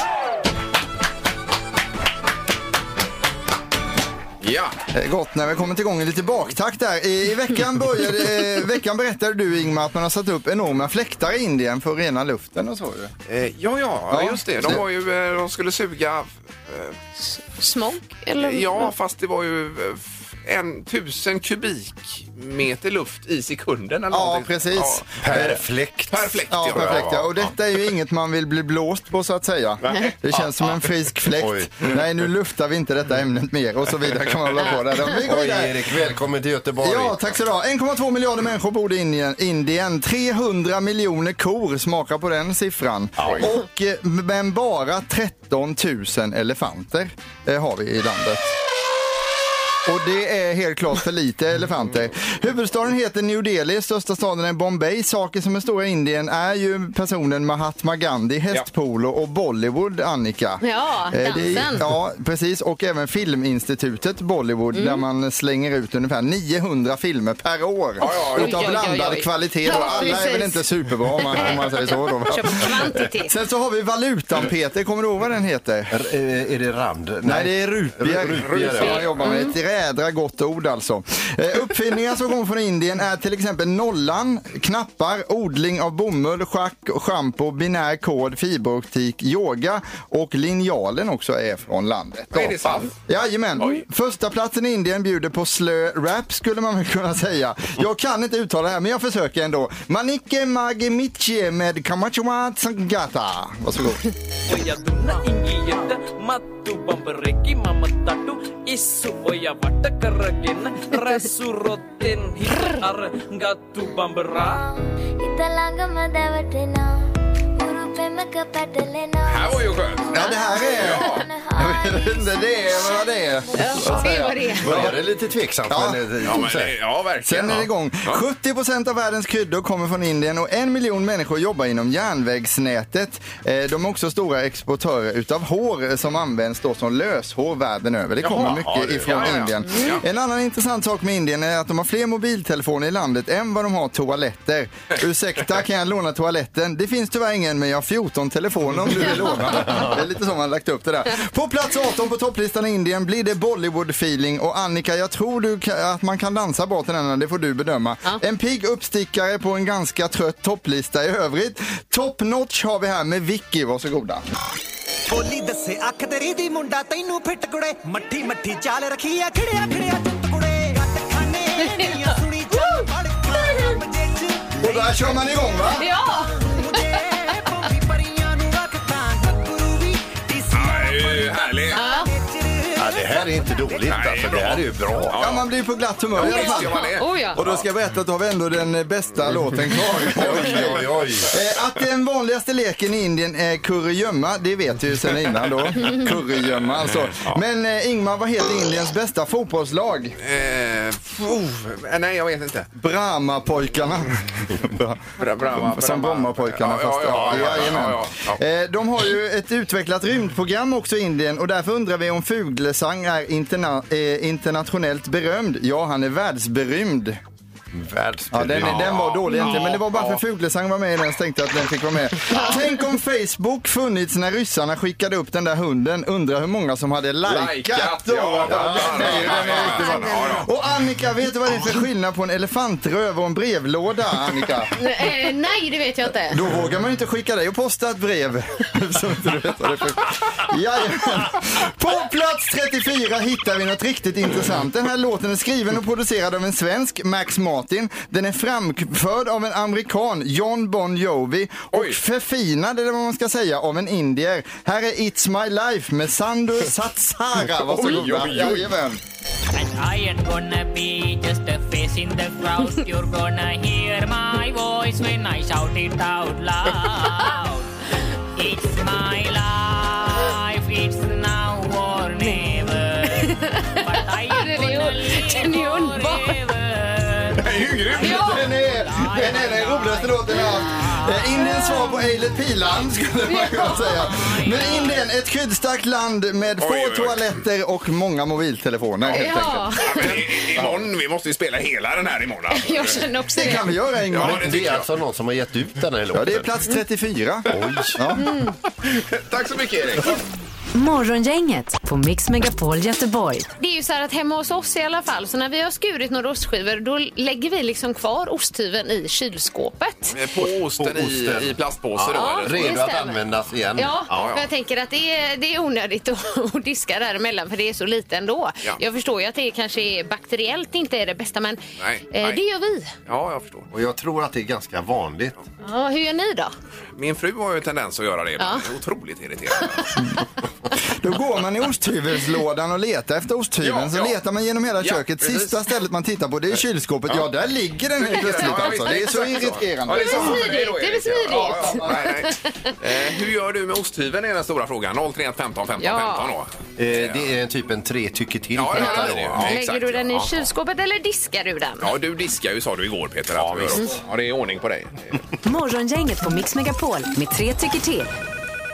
[SPEAKER 4] Ja.
[SPEAKER 7] Eh, Gott när vi kommit igång i lite baktakt där. I, i veckan, började, eh, veckan berättade du Ingmar att man har satt upp enorma fläktar i Indien för att rena luften och så ju.
[SPEAKER 4] Eh, Ja, ja,
[SPEAKER 7] Ja.
[SPEAKER 4] just det. De, var ju, eh, de skulle suga... eh,
[SPEAKER 5] Smog? Eller?
[SPEAKER 4] Ja, fast det var ju eh, f- en tusen kubikmeter luft i sekunden. Eller
[SPEAKER 7] Ja,
[SPEAKER 4] någonting.
[SPEAKER 7] precis.
[SPEAKER 4] Ja.
[SPEAKER 6] Perfekt.
[SPEAKER 4] Per fläkt,
[SPEAKER 7] Ja, perfekt. Ja. Och detta är ju inget man vill bli blåst på så att säga. Det känns som en frisk
[SPEAKER 6] Oj.
[SPEAKER 7] fläkt. Nej, nu luftar vi inte detta ämnet mer och så vidare kan man hålla på där. Vi går
[SPEAKER 6] Oj,
[SPEAKER 7] vidare.
[SPEAKER 6] Erik, välkommen till Göteborg.
[SPEAKER 7] Ja, tack så du ha. 1,2 miljarder människor bor i Indien- Indien. 300 miljoner kor, smaka på den siffran. Och, eh, men bara 13 000 elefanter eh, har vi i landet. Och det är helt klart för lite elefanter. Huvudstaden heter New Delhi, största staden är Bombay. Saker som är stora i Indien är ju personen Mahatma Gandhi, hästpolo och Bollywood, Annika.
[SPEAKER 5] Ja,
[SPEAKER 7] Eh, det är-
[SPEAKER 5] dansen.
[SPEAKER 7] Ja, precis. Och även Filminstitutet Bollywood där man slänger ut ungefär 900 filmer per år.
[SPEAKER 4] ja, ja.
[SPEAKER 7] Utav
[SPEAKER 5] Mm. Oj, oj, oj,
[SPEAKER 7] blandad
[SPEAKER 5] oj.
[SPEAKER 7] kvalitet.
[SPEAKER 5] Ja,
[SPEAKER 7] Och alla är väl
[SPEAKER 5] precis.
[SPEAKER 7] inte superbra om man, om man säger så. Då. va?
[SPEAKER 5] Köp kvantitet.
[SPEAKER 7] Sen så har vi valutan Peter, kommer du ihåg vad den heter?
[SPEAKER 6] R- eh, är det Rand? Nej,
[SPEAKER 7] det är rupier.
[SPEAKER 6] Rupier,
[SPEAKER 7] som
[SPEAKER 6] ja.
[SPEAKER 7] jag jobbar med. Ett jädra gott ord alltså. Eh, uppfinningar som kommer från Indien är till exempel nollan, knappar, odling av bomull, schack, schampo, binär kod, fiberoptik, yoga och linjalen också är från landet.
[SPEAKER 4] Är det sant?
[SPEAKER 7] Jajamän.
[SPEAKER 4] Oj.
[SPEAKER 7] Första platsen i Indien bjuder på slö rap skulle man väl kunna säga. Jag kan inte uttala det här men jag försöker ändå. Manike Magemiche med Kamachuma Sangata. Varsågod.
[SPEAKER 12] Italangamadavatena, urupe
[SPEAKER 4] Här var ju skönt.
[SPEAKER 7] Ja, det här är... Jag vet inte, det är vad det är.
[SPEAKER 5] Ja, se vad det är.
[SPEAKER 6] Började det lite tveksamt,
[SPEAKER 7] Ja.
[SPEAKER 6] men eh, det
[SPEAKER 4] Ja,
[SPEAKER 6] tog
[SPEAKER 4] men, det-
[SPEAKER 6] sig.
[SPEAKER 4] ja verkligen.
[SPEAKER 7] Sen är det
[SPEAKER 4] Ja.
[SPEAKER 7] igång.
[SPEAKER 4] Ja.
[SPEAKER 7] 70 av världens kryddor kommer från Indien och en miljon människor jobbar inom järnvägsnätet. Eh, De är också stora exportörer utav hår eh, som används då som löshår världen över. Det kommer
[SPEAKER 4] Jaha, ja,
[SPEAKER 7] mycket
[SPEAKER 4] det-
[SPEAKER 7] ifrån
[SPEAKER 4] ja, ja, ja.
[SPEAKER 7] Indien.
[SPEAKER 4] Mm. Ja.
[SPEAKER 7] En annan intressant sak med Indien är att de har fler mobiltelefoner i landet än vad de har toaletter. Ursäkta, kan jag låna toaletten? Det finns tyvärr ingen, men jag har 14 telefoner om du vill låna. Det är lite så man har lagt upp det där. På plats 18 på topplistan i Indien blir det Bollywood-feeling. Och Annika, jag tror du ka- att man kan dansa bra till den, här, det får du bedöma. En pigg uppstickare på en ganska trött topplista i övrigt. Top notch har vi här med Vicky, varsågoda.
[SPEAKER 9] ਬੋਲੀ ਦੱਸੇ ਅੱਖ ਤੇਰੀ ਦੀ ਮੁੰਡਾ ਤੈਨੂੰ ਫਿੱਟ ਕੁੜੇ ਮੱਠੀ ਮੱਠੀ ਚਾਲ ਰੱਖੀ ਆ ਖੜਿਆ ਖੜਿਆ ਟੁੱਟ ਕੁੜੇ ਗੱਟ ਖਾਨੇ ਦੀਆਂ ਸੁਣੀ ਚੱਲ ਬੜਕਾਂ ਬਜੇ ਚ
[SPEAKER 7] Och där kör man igång va?
[SPEAKER 5] Ja!
[SPEAKER 4] Ja, det är ju härligt.
[SPEAKER 6] Ja, det här är inte dåligt alltså. Det här är ju bra.
[SPEAKER 7] Ja, man blir på glatt humör i alla
[SPEAKER 4] Visst
[SPEAKER 7] fall.
[SPEAKER 4] gör man det.
[SPEAKER 5] Oh, ja.
[SPEAKER 7] Och då ska jag berätta att då har vi ändå den eh, bästa låten kvar.
[SPEAKER 6] Oj, oj, oj.
[SPEAKER 7] Eh, Att den vanligaste leken i Indien är kurragömma, det vet du ju sedan innan då. Kurragömma alltså. Men eh, Ingmar, vad heter Indiens bästa fotbollslag?
[SPEAKER 4] Eh, oh, nej, jag vet inte.
[SPEAKER 7] Brahmapojkarna.
[SPEAKER 4] Bra, bra, bra,
[SPEAKER 7] Som
[SPEAKER 4] bra.
[SPEAKER 7] Brommapojkarna
[SPEAKER 4] Ja, ja,
[SPEAKER 7] fast
[SPEAKER 4] ja, ja, ja,
[SPEAKER 7] jajamän.
[SPEAKER 4] ja, ja.
[SPEAKER 7] Eh, De har ju ett utvecklat rymdprogram också i Indien och därför undrar vi om Fuglesang är interna eh, internationellt berömd. Ja, han är världsberömd. Ja, den,
[SPEAKER 6] Världsberömd.
[SPEAKER 7] den var dålig egentligen, men det var bara för Fuglesang var med i den så tänkte jag att den fick vara med. Tänk om Facebook funnits när ryssarna skickade upp den där hunden. Undrar hur många som hade likat
[SPEAKER 4] Likat,
[SPEAKER 7] då.
[SPEAKER 4] ja, ja, ja,
[SPEAKER 7] Den är ju-
[SPEAKER 4] ja,
[SPEAKER 7] den är
[SPEAKER 4] ja,
[SPEAKER 7] riktigt
[SPEAKER 4] ja,
[SPEAKER 7] bra.
[SPEAKER 4] ja,
[SPEAKER 7] Och Annika, vet du vad det är för skillnad på en elefantröv och en brevlåda, Annika?
[SPEAKER 5] Eh, nej, det vet jag inte.
[SPEAKER 7] Då vågar man ju inte skicka dig och posta ett brev. Så inte du vet vad det är för... Jajamän. På plats 34 hittar vi något riktigt intressant. Den här låten är skriven och producerad av en svensk, Max Martin. Den är framförd av en amerikan, John Bon Jovi. Och
[SPEAKER 4] Oj.
[SPEAKER 7] förfinad, eller vad man ska säga, av en indier. Här är It's My Life med Sandu Satsara. Varsågoda.
[SPEAKER 4] Oj, oj, oj.
[SPEAKER 7] Jajamän.
[SPEAKER 9] And I ain't gonna be just a face in the crowd. You're gonna hear my voice when I shout it out loud. It's my life, it's now or never. But I ain't
[SPEAKER 5] Den är ju-
[SPEAKER 9] gonna live
[SPEAKER 5] den är ju underbar.
[SPEAKER 9] forever.
[SPEAKER 4] Det är ju grymt.
[SPEAKER 7] Den är den, är den roligaste låten jag haft. Eh, Indiens svar på Eilert Piland skulle man kunna säga. Men Indien, ett kryddstarkt land med få
[SPEAKER 4] Oj, oj, oj.
[SPEAKER 7] toaletter och många mobiltelefoner helt
[SPEAKER 5] Ja,
[SPEAKER 7] enkelt.
[SPEAKER 4] Ja, men i- i- Imorgon, vi måste ju spela hela den här imorgon. alltså.
[SPEAKER 5] jag känner också
[SPEAKER 7] Det
[SPEAKER 5] det.
[SPEAKER 7] kan vi göra
[SPEAKER 4] Ja,
[SPEAKER 7] Ingmar.
[SPEAKER 4] det tycker
[SPEAKER 6] Det är
[SPEAKER 4] jag.
[SPEAKER 6] alltså någon som har gett ut den här låten.
[SPEAKER 7] Ja, det är plats 34.
[SPEAKER 6] Oj.
[SPEAKER 7] Ja.
[SPEAKER 4] Tack så mycket, Erik.
[SPEAKER 3] Morgongänget på Mix Megapol Göteborg.
[SPEAKER 5] Det är ju så här att hemma hos oss i alla fall, så när vi har skurit några ostskivor då lägger vi liksom kvar osthyveln i kylskåpet.
[SPEAKER 4] Eh, På osten,
[SPEAKER 6] På osten.
[SPEAKER 4] I, i plastpåse då.
[SPEAKER 5] Ja.
[SPEAKER 4] eller?
[SPEAKER 5] Det
[SPEAKER 6] Redo att
[SPEAKER 5] stämmer.
[SPEAKER 6] användas igen.
[SPEAKER 5] Ja,
[SPEAKER 4] Mm. Ja, ja.
[SPEAKER 5] för jag tänker att det är, det är onödigt att, att diska däremellan för det är så lite ändå.
[SPEAKER 4] Ja.
[SPEAKER 5] Jag förstår ju att det kanske är bakteriellt inte är det bästa men
[SPEAKER 4] Nej,
[SPEAKER 5] eh,
[SPEAKER 4] nej.
[SPEAKER 5] det gör vi.
[SPEAKER 4] Ja, jag förstår.
[SPEAKER 6] Och jag tror att det är ganska vanligt.
[SPEAKER 5] Ja, hur gör ni då?
[SPEAKER 4] Min fru har ju en tendens att göra det. ibland. Det är otroligt irriterande.
[SPEAKER 7] Då går man i osthyvelslådan och letar efter osthyveln.
[SPEAKER 4] Ja,
[SPEAKER 7] så
[SPEAKER 4] ja.
[SPEAKER 7] letar man genom hela
[SPEAKER 4] Ja,
[SPEAKER 7] köket.
[SPEAKER 4] precis.
[SPEAKER 7] Sista stället man tittar på det är kylskåpet. Ja, där ligger den helt plötsligt
[SPEAKER 4] Ja,
[SPEAKER 7] alltså.
[SPEAKER 4] visst,
[SPEAKER 7] Det är så
[SPEAKER 4] exakt
[SPEAKER 7] irriterande.
[SPEAKER 4] Ja, så.
[SPEAKER 5] Det är
[SPEAKER 4] är då,
[SPEAKER 5] smidigt, det är
[SPEAKER 4] Erik.
[SPEAKER 5] smidigt.
[SPEAKER 4] Ja, ja, nej, nej. Eh, hur gör du med osthyveln är den stora frågan. 031 15 15
[SPEAKER 5] Ja.
[SPEAKER 4] 15 då.
[SPEAKER 6] Eh, det är en typ en tre tycker till
[SPEAKER 4] Ja,
[SPEAKER 6] på
[SPEAKER 4] ja,
[SPEAKER 6] detta
[SPEAKER 4] det
[SPEAKER 6] då.
[SPEAKER 4] är det.
[SPEAKER 6] Ja.
[SPEAKER 4] exakt,
[SPEAKER 5] lägger du den i
[SPEAKER 4] ja.
[SPEAKER 5] kylskåpet eller diskar du den?
[SPEAKER 4] Ja, du diskar ju sa du igår Peter. Ja, att du gör också. ja det är ordning på dig.
[SPEAKER 3] Morgongänget på Mix Megapol med tre tycker till.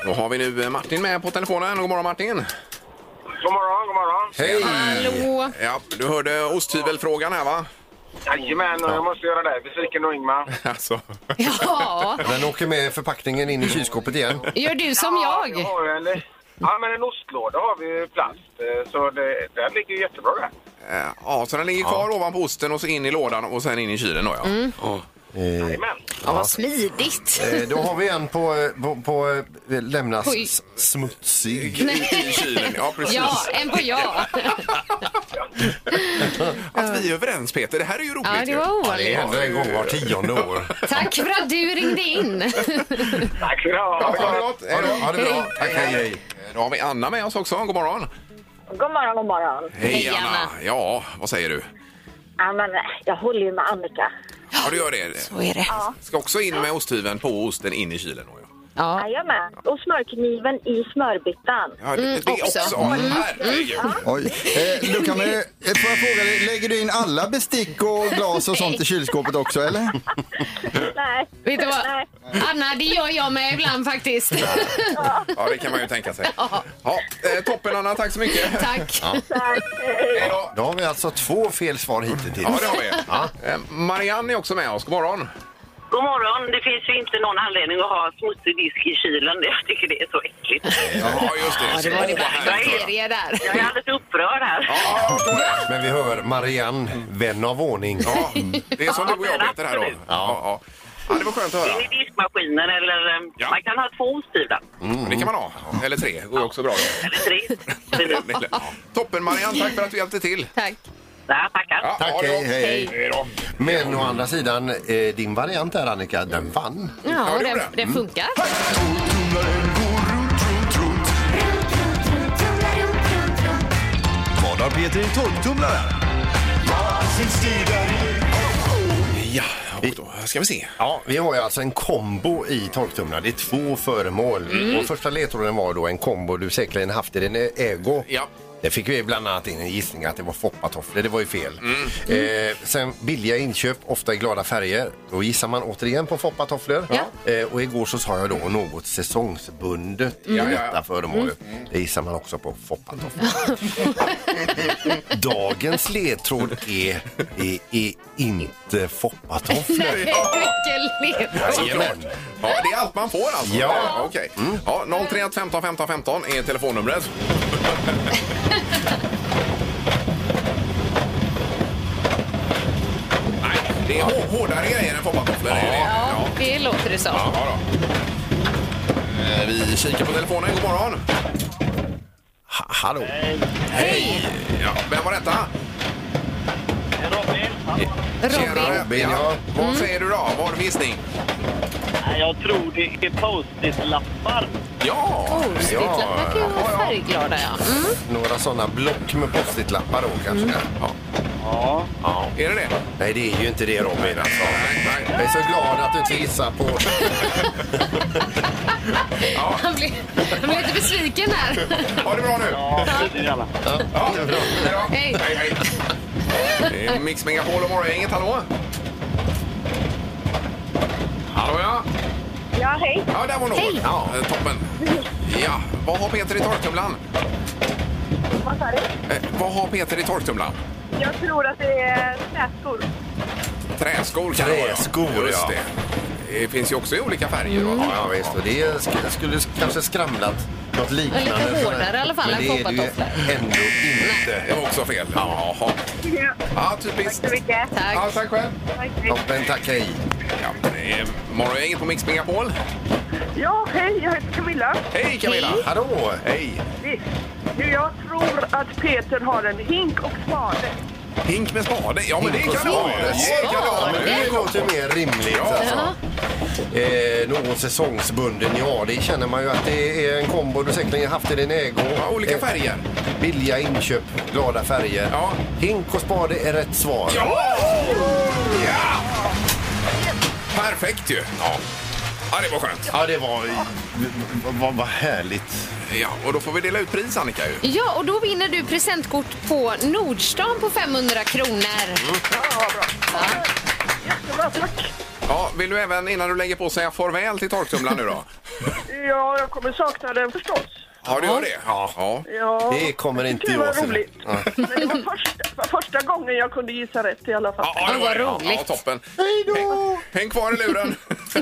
[SPEAKER 4] Då har vi nu eh, Martin med på telefonen. God morgon Martin!
[SPEAKER 1] God morgon, god morgon.
[SPEAKER 4] Hej!
[SPEAKER 5] Hallå?
[SPEAKER 4] Ja, du hörde osthyvelfrågan här va?
[SPEAKER 1] Jajamän, och jag måste göra dig besviken och Ingmar.
[SPEAKER 4] Alltså.
[SPEAKER 5] Ja,
[SPEAKER 6] Den åker med förpackningen in i kylskåpet igen.
[SPEAKER 5] gör du som
[SPEAKER 1] Ja, vi
[SPEAKER 5] jag?
[SPEAKER 1] har ju en, ja, men en ostlåda har vi ju i plast, eh, så det, den ligger ju jättebra där.
[SPEAKER 4] Eh, Ja, Mm. så den ligger kvar ovanpå osten och så in i lådan och sen in i kylen då ja. Ja.
[SPEAKER 1] Jajamän.
[SPEAKER 5] Ja, vad smidigt.
[SPEAKER 6] Eh, Då har vi en på, eh, på, på eh, lämnas
[SPEAKER 5] Oj.
[SPEAKER 6] s- smutsig.
[SPEAKER 4] I kylen, ja eh. precis.
[SPEAKER 5] Ja, en på ja.
[SPEAKER 4] Att vi är överens Peter, det här är ju roligt
[SPEAKER 5] Ja, det
[SPEAKER 4] ju.
[SPEAKER 5] var
[SPEAKER 6] Det
[SPEAKER 5] ovanligt.
[SPEAKER 6] händer en gång var tionde år.
[SPEAKER 5] Tack för att du ringde in.
[SPEAKER 1] Tack ska ni
[SPEAKER 4] Ja, ha det
[SPEAKER 1] ha.
[SPEAKER 4] gott! Hej då.
[SPEAKER 6] Ha det bra. Tack, hej, hej.
[SPEAKER 4] Då har vi Anna med oss också. God morgon!
[SPEAKER 2] God morgon, god morgon.
[SPEAKER 4] Hej
[SPEAKER 5] Anna.
[SPEAKER 4] Ja, vad säger du?
[SPEAKER 2] Ja, men, jag håller ju med Annika.
[SPEAKER 4] Ja, du gör det.
[SPEAKER 5] Vad är det?
[SPEAKER 4] Ska också in med osthyveln på osten in i kylen. då, ja.
[SPEAKER 5] Ja.
[SPEAKER 2] Jajamän. Och smörkniven i smörbyttan.
[SPEAKER 4] Ja, det, det
[SPEAKER 5] också.
[SPEAKER 4] Mm, också. Mm. Herregud.
[SPEAKER 7] Oj. Eh, då kan man, ju- eh, får jag fråga dig, lägger du in alla bestick och glas och sånt i kylskåpet också eller?
[SPEAKER 2] Nej.
[SPEAKER 5] Vet du vad?
[SPEAKER 2] Nej.
[SPEAKER 5] Anna, det gör jag med ibland faktiskt.
[SPEAKER 4] Ja, det kan man ju tänka sig. Ja, eh, toppen Anna, tack så mycket.
[SPEAKER 5] Tack.
[SPEAKER 2] eh,
[SPEAKER 4] Hej då.
[SPEAKER 6] Då har vi alltså två fel svar hittills.
[SPEAKER 4] Ja, det har vi. Eh, Marianne är också med oss. God morgon.
[SPEAKER 2] God morgon. Det finns ju inte någon anledning att ha smutsig disk i kylen. Jag tycker det är så äckligt.
[SPEAKER 4] Ja, just det.
[SPEAKER 5] Ja, det var det
[SPEAKER 4] Åh, vad
[SPEAKER 5] värsta
[SPEAKER 4] härligt.
[SPEAKER 5] serier där.
[SPEAKER 2] Jag är alldeles upprörd här.
[SPEAKER 4] Ja,
[SPEAKER 6] Mm. Men vi hör Marianne, vän av ordning.
[SPEAKER 4] ja, det är som du och jag Peter här då. Ja, ja. ja, det var skönt att höra.
[SPEAKER 2] In i diskmaskinen eller... eh,
[SPEAKER 4] Ja.
[SPEAKER 2] Man kan ha två osthyvlar.
[SPEAKER 4] Det kan man ha. Eller tre, går ju också bra. Då.
[SPEAKER 2] Eller tre. Det är nu.
[SPEAKER 4] Ja. Toppen Marianne, tack för att du hjälpte till.
[SPEAKER 5] Tack.
[SPEAKER 2] Ja, tackar.
[SPEAKER 4] Ja,
[SPEAKER 6] Tack,
[SPEAKER 4] ha det
[SPEAKER 6] hej,
[SPEAKER 4] gott.
[SPEAKER 6] hej,
[SPEAKER 5] hej.
[SPEAKER 4] Hej då.
[SPEAKER 6] Men å andra sidan, eh, din variant där Annika, den vann.
[SPEAKER 5] Ja,
[SPEAKER 4] det Mm.
[SPEAKER 5] den,
[SPEAKER 4] gjorde det.
[SPEAKER 5] den funkar.
[SPEAKER 13] Vad har Peter i torktumlaren?
[SPEAKER 4] Ja, och då ska vi se.
[SPEAKER 6] Ja, vi har ju alltså en kombo i torktumlaren. Det är två föremål.
[SPEAKER 4] Mm.
[SPEAKER 6] Och första ledtråden var då en kombo du säkerligen haft i din ägo.
[SPEAKER 4] Ja.
[SPEAKER 6] Det fick vi bland annat in en gissning att det var foppatofflor. Det var ju fel.
[SPEAKER 4] Mm.
[SPEAKER 6] Eh, sen billiga inköp, ofta i glada färger. Då gissar man återigen på foppatofflor.
[SPEAKER 5] Ja.
[SPEAKER 6] Eh, och igår så sa jag då något säsongsbundet
[SPEAKER 4] Ja,
[SPEAKER 6] i
[SPEAKER 4] Mm. ja, Mm. ja.
[SPEAKER 6] detta föremål. Det gissar man också på foppatofflor. Dagens ledtråd är, är, är inte foppatofflor.
[SPEAKER 5] Nej, vilken led.
[SPEAKER 6] Jajamän.
[SPEAKER 4] Ja, det är allt man får alltså?
[SPEAKER 6] Ja.
[SPEAKER 4] Okej. Ja, 031 15 15 15 är telefonnumret. Nej, det är hår- hårdare grejer än foppatofflor. det är det.
[SPEAKER 5] Ja, det låter det som.
[SPEAKER 4] Ja, ja då. Eh, Vi kikar på telefonen. God morgon!
[SPEAKER 6] Ha- Hallå.
[SPEAKER 4] Hej! Ja, vem var detta?
[SPEAKER 8] Robin,
[SPEAKER 4] Tjena,
[SPEAKER 5] Robin.
[SPEAKER 6] Robin, ja.
[SPEAKER 4] Vad säger du då? Vad har du gissning?
[SPEAKER 8] jag tror det är post-it-lappar.
[SPEAKER 4] Ja!
[SPEAKER 5] Post-it-lappar kan ju vara färgglada, ja. Mm.
[SPEAKER 6] Några sådana block med post-it-lappar då kanske. Ja.
[SPEAKER 8] Ja.
[SPEAKER 6] Ja.
[SPEAKER 4] Är det det?
[SPEAKER 6] Nej, det är ju inte det Robin alltså.
[SPEAKER 4] Nej, nej.
[SPEAKER 6] Jag är så glad att du inte gissar på...
[SPEAKER 5] Mm. Han blev, han blev lite besviken här.
[SPEAKER 4] Ha det bra nu!
[SPEAKER 8] Ja.
[SPEAKER 4] Ja, det är bra.
[SPEAKER 5] Hej.
[SPEAKER 4] Hej, hej. Det är Mix Megapol och Morgongänget. Hallå? Hallå, ja.
[SPEAKER 2] Ja, hej.
[SPEAKER 4] Ja, där var någon.
[SPEAKER 5] Hej.
[SPEAKER 4] Ja, eh, toppen. Ja, vad har Peter i torktumlaren?
[SPEAKER 2] Vad sa du?
[SPEAKER 4] Eh, vad har Peter i torktumlaren?
[SPEAKER 2] Jag tror att det är träskor.
[SPEAKER 4] Träskor kan
[SPEAKER 6] Träskor,
[SPEAKER 4] det vara. Just
[SPEAKER 6] ja.
[SPEAKER 4] det. Det finns ju också i olika färger. va?
[SPEAKER 6] Ja,
[SPEAKER 5] Mm.
[SPEAKER 6] ja visst. Och det är, sk- skulle sk- kanske skramlat något liknande.
[SPEAKER 5] Ja, lite hårdare
[SPEAKER 6] sådär.
[SPEAKER 5] i alla fall
[SPEAKER 6] Men
[SPEAKER 5] än
[SPEAKER 6] det är det ju
[SPEAKER 5] foppatofflor.
[SPEAKER 6] ändå inte.
[SPEAKER 4] Det var också fel. Jaha. Ja,
[SPEAKER 2] Tack
[SPEAKER 4] typiskt.
[SPEAKER 2] så mycket.
[SPEAKER 4] Ja,
[SPEAKER 5] Tack.
[SPEAKER 4] tack själv.
[SPEAKER 2] Tack.
[SPEAKER 6] Ja, men tack, hej.
[SPEAKER 4] Ja, det är Morgongänget på Mix Megapol.
[SPEAKER 2] Ja, hej. Jag heter Camilla.
[SPEAKER 4] Hej Camilla!
[SPEAKER 6] Hallå!
[SPEAKER 4] Hej!
[SPEAKER 2] Jag tror att Peter har en hink och spade.
[SPEAKER 4] Hink med spade. Ja, men det
[SPEAKER 6] Hink och
[SPEAKER 4] kan det vara.
[SPEAKER 6] spade.
[SPEAKER 4] Det kan det vara.
[SPEAKER 6] Ja, men det låter ju mer rimligt. Alltså. Eh, någon säsongsbunden, ja det känner man ju att det är en kombo du säkerligen haft i din ägo.
[SPEAKER 4] Ja, olika
[SPEAKER 6] Eh,
[SPEAKER 4] färger.
[SPEAKER 6] Billiga inköp, glada färger.
[SPEAKER 4] Ja.
[SPEAKER 6] Hink och spade är rätt svar.
[SPEAKER 4] Ja! ja! Perfekt ju. Ja. ja, det var skönt.
[SPEAKER 6] Ja, det var... Vad vad- vad härligt.
[SPEAKER 4] Ja, och då får vi dela ut pris Annika ju.
[SPEAKER 5] Ja, och då vinner du presentkort på Nordstan på 500 kronor.
[SPEAKER 4] Ja, vill du även innan du lägger på säga farväl till torktumlaren nu då?
[SPEAKER 2] Ja, jag kommer sakna den förstås.
[SPEAKER 4] Ja, du gör det? Ja. ja.
[SPEAKER 2] Ja.
[SPEAKER 6] Det kommer inte
[SPEAKER 2] Gud, vad
[SPEAKER 6] jag se.
[SPEAKER 2] roligt. Men det var första, var första gången jag kunde gissa rätt i alla fall.
[SPEAKER 4] Ja, det
[SPEAKER 5] Åh,
[SPEAKER 4] var
[SPEAKER 5] vad
[SPEAKER 4] det. Ja,
[SPEAKER 5] roligt.
[SPEAKER 4] Ja, toppen. Hej då! Häng kvar i luren.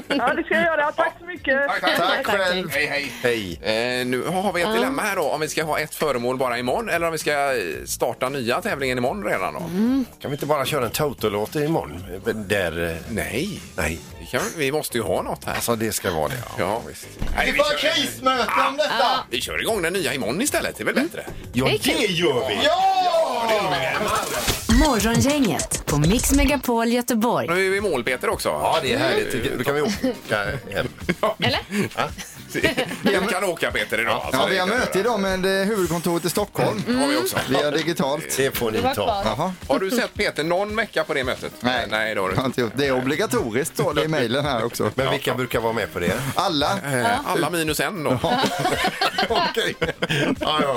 [SPEAKER 2] Ja, det ska jag göra. Tack så mycket.
[SPEAKER 4] tack, tack.
[SPEAKER 6] Tack själv.
[SPEAKER 4] Hej, hej.
[SPEAKER 6] Hej.
[SPEAKER 4] Eh, nu har vi ett dilemma här då, om vi ska ha ett föremål bara imorgon eller om vi ska eh, starta nya tävlingen imorgon redan då.
[SPEAKER 6] Kan vi inte bara köra en Toto-låt imorgon? Eh, Där... eh,
[SPEAKER 4] Nej,
[SPEAKER 6] Nej.
[SPEAKER 4] vi, kan, vi måste ju ha något här.
[SPEAKER 6] Alltså det ska vara det.
[SPEAKER 4] Ja, visst. Nej, vi, kör,
[SPEAKER 13] krismöte om detta!
[SPEAKER 4] vi kör igång den nya imorgon istället, det är väl bättre?
[SPEAKER 6] Ja,
[SPEAKER 5] Det är kul.
[SPEAKER 6] det gör vi!
[SPEAKER 3] Morgongänget på Mix Megapol Göteborg.
[SPEAKER 4] Nu är vi i mål Peter också. Mm.
[SPEAKER 6] Ja, det är härligt. Då kan vi åka hem.
[SPEAKER 5] Eller?
[SPEAKER 4] Du kan åka Peter idag.
[SPEAKER 7] Ja, vi har möte idag med eh, huvudkontoret i Stockholm.
[SPEAKER 4] Mm. Har vi också.
[SPEAKER 7] Via digitalt.
[SPEAKER 6] Det får
[SPEAKER 5] Det var kvar.
[SPEAKER 7] Jaha.
[SPEAKER 4] Har du sett Peter någon vecka på det mötet?
[SPEAKER 7] Nej.
[SPEAKER 4] Nej, det har du
[SPEAKER 7] Jag har
[SPEAKER 4] inte.
[SPEAKER 7] inte gjort. Det är obligatoriskt står det i mejlen här också.
[SPEAKER 6] Men vilka brukar vara med på det?
[SPEAKER 7] Alla.
[SPEAKER 4] Eh, Alla minus en då.
[SPEAKER 6] Okej. ja, ja, ja.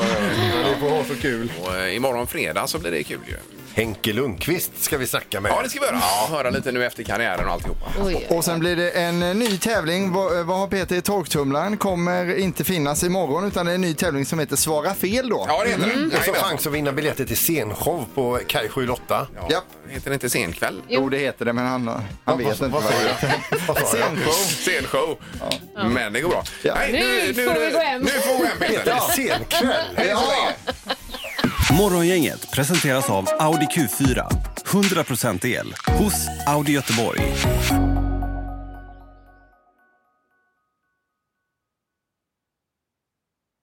[SPEAKER 6] Ni får ha så kul.
[SPEAKER 4] Och, eh, imorgon fredag så blir det kul ju.
[SPEAKER 6] Henke Lundqvist ska vi snacka med.
[SPEAKER 4] Ja, det ska vi göra. Höra lite nu efter karriären och alltihopa.
[SPEAKER 5] Oj.
[SPEAKER 7] Och sen blir det en eh, ny tävling. Vad, eh, vad har Peter i torktumlaren? Kommer inte finnas imorgon utan det är en ny tävling som heter Svara fel då.
[SPEAKER 4] Ja, det heter
[SPEAKER 7] Mm.
[SPEAKER 4] den.
[SPEAKER 6] Och så
[SPEAKER 4] Jajamän.
[SPEAKER 6] chans att vinna biljetter till scenshow på Kaj 78.
[SPEAKER 4] Ja. Heter det inte Senkväll?
[SPEAKER 7] Jo, det heter det, men han, han vet inte
[SPEAKER 6] vad
[SPEAKER 7] vad
[SPEAKER 6] sa
[SPEAKER 7] det
[SPEAKER 6] jag?
[SPEAKER 7] heter.
[SPEAKER 6] Vad sa jag?
[SPEAKER 7] Scenshow.
[SPEAKER 4] Senshow. Men det går bra.
[SPEAKER 7] Ja.
[SPEAKER 5] Nu får vi gå hem.
[SPEAKER 4] Nu får vi gå hem
[SPEAKER 6] Heter
[SPEAKER 4] Peter.
[SPEAKER 6] det scenkväll?
[SPEAKER 4] Ja.
[SPEAKER 13] Morgongänget presenteras av Audi Q4. 100% el hos Audi Göteborg.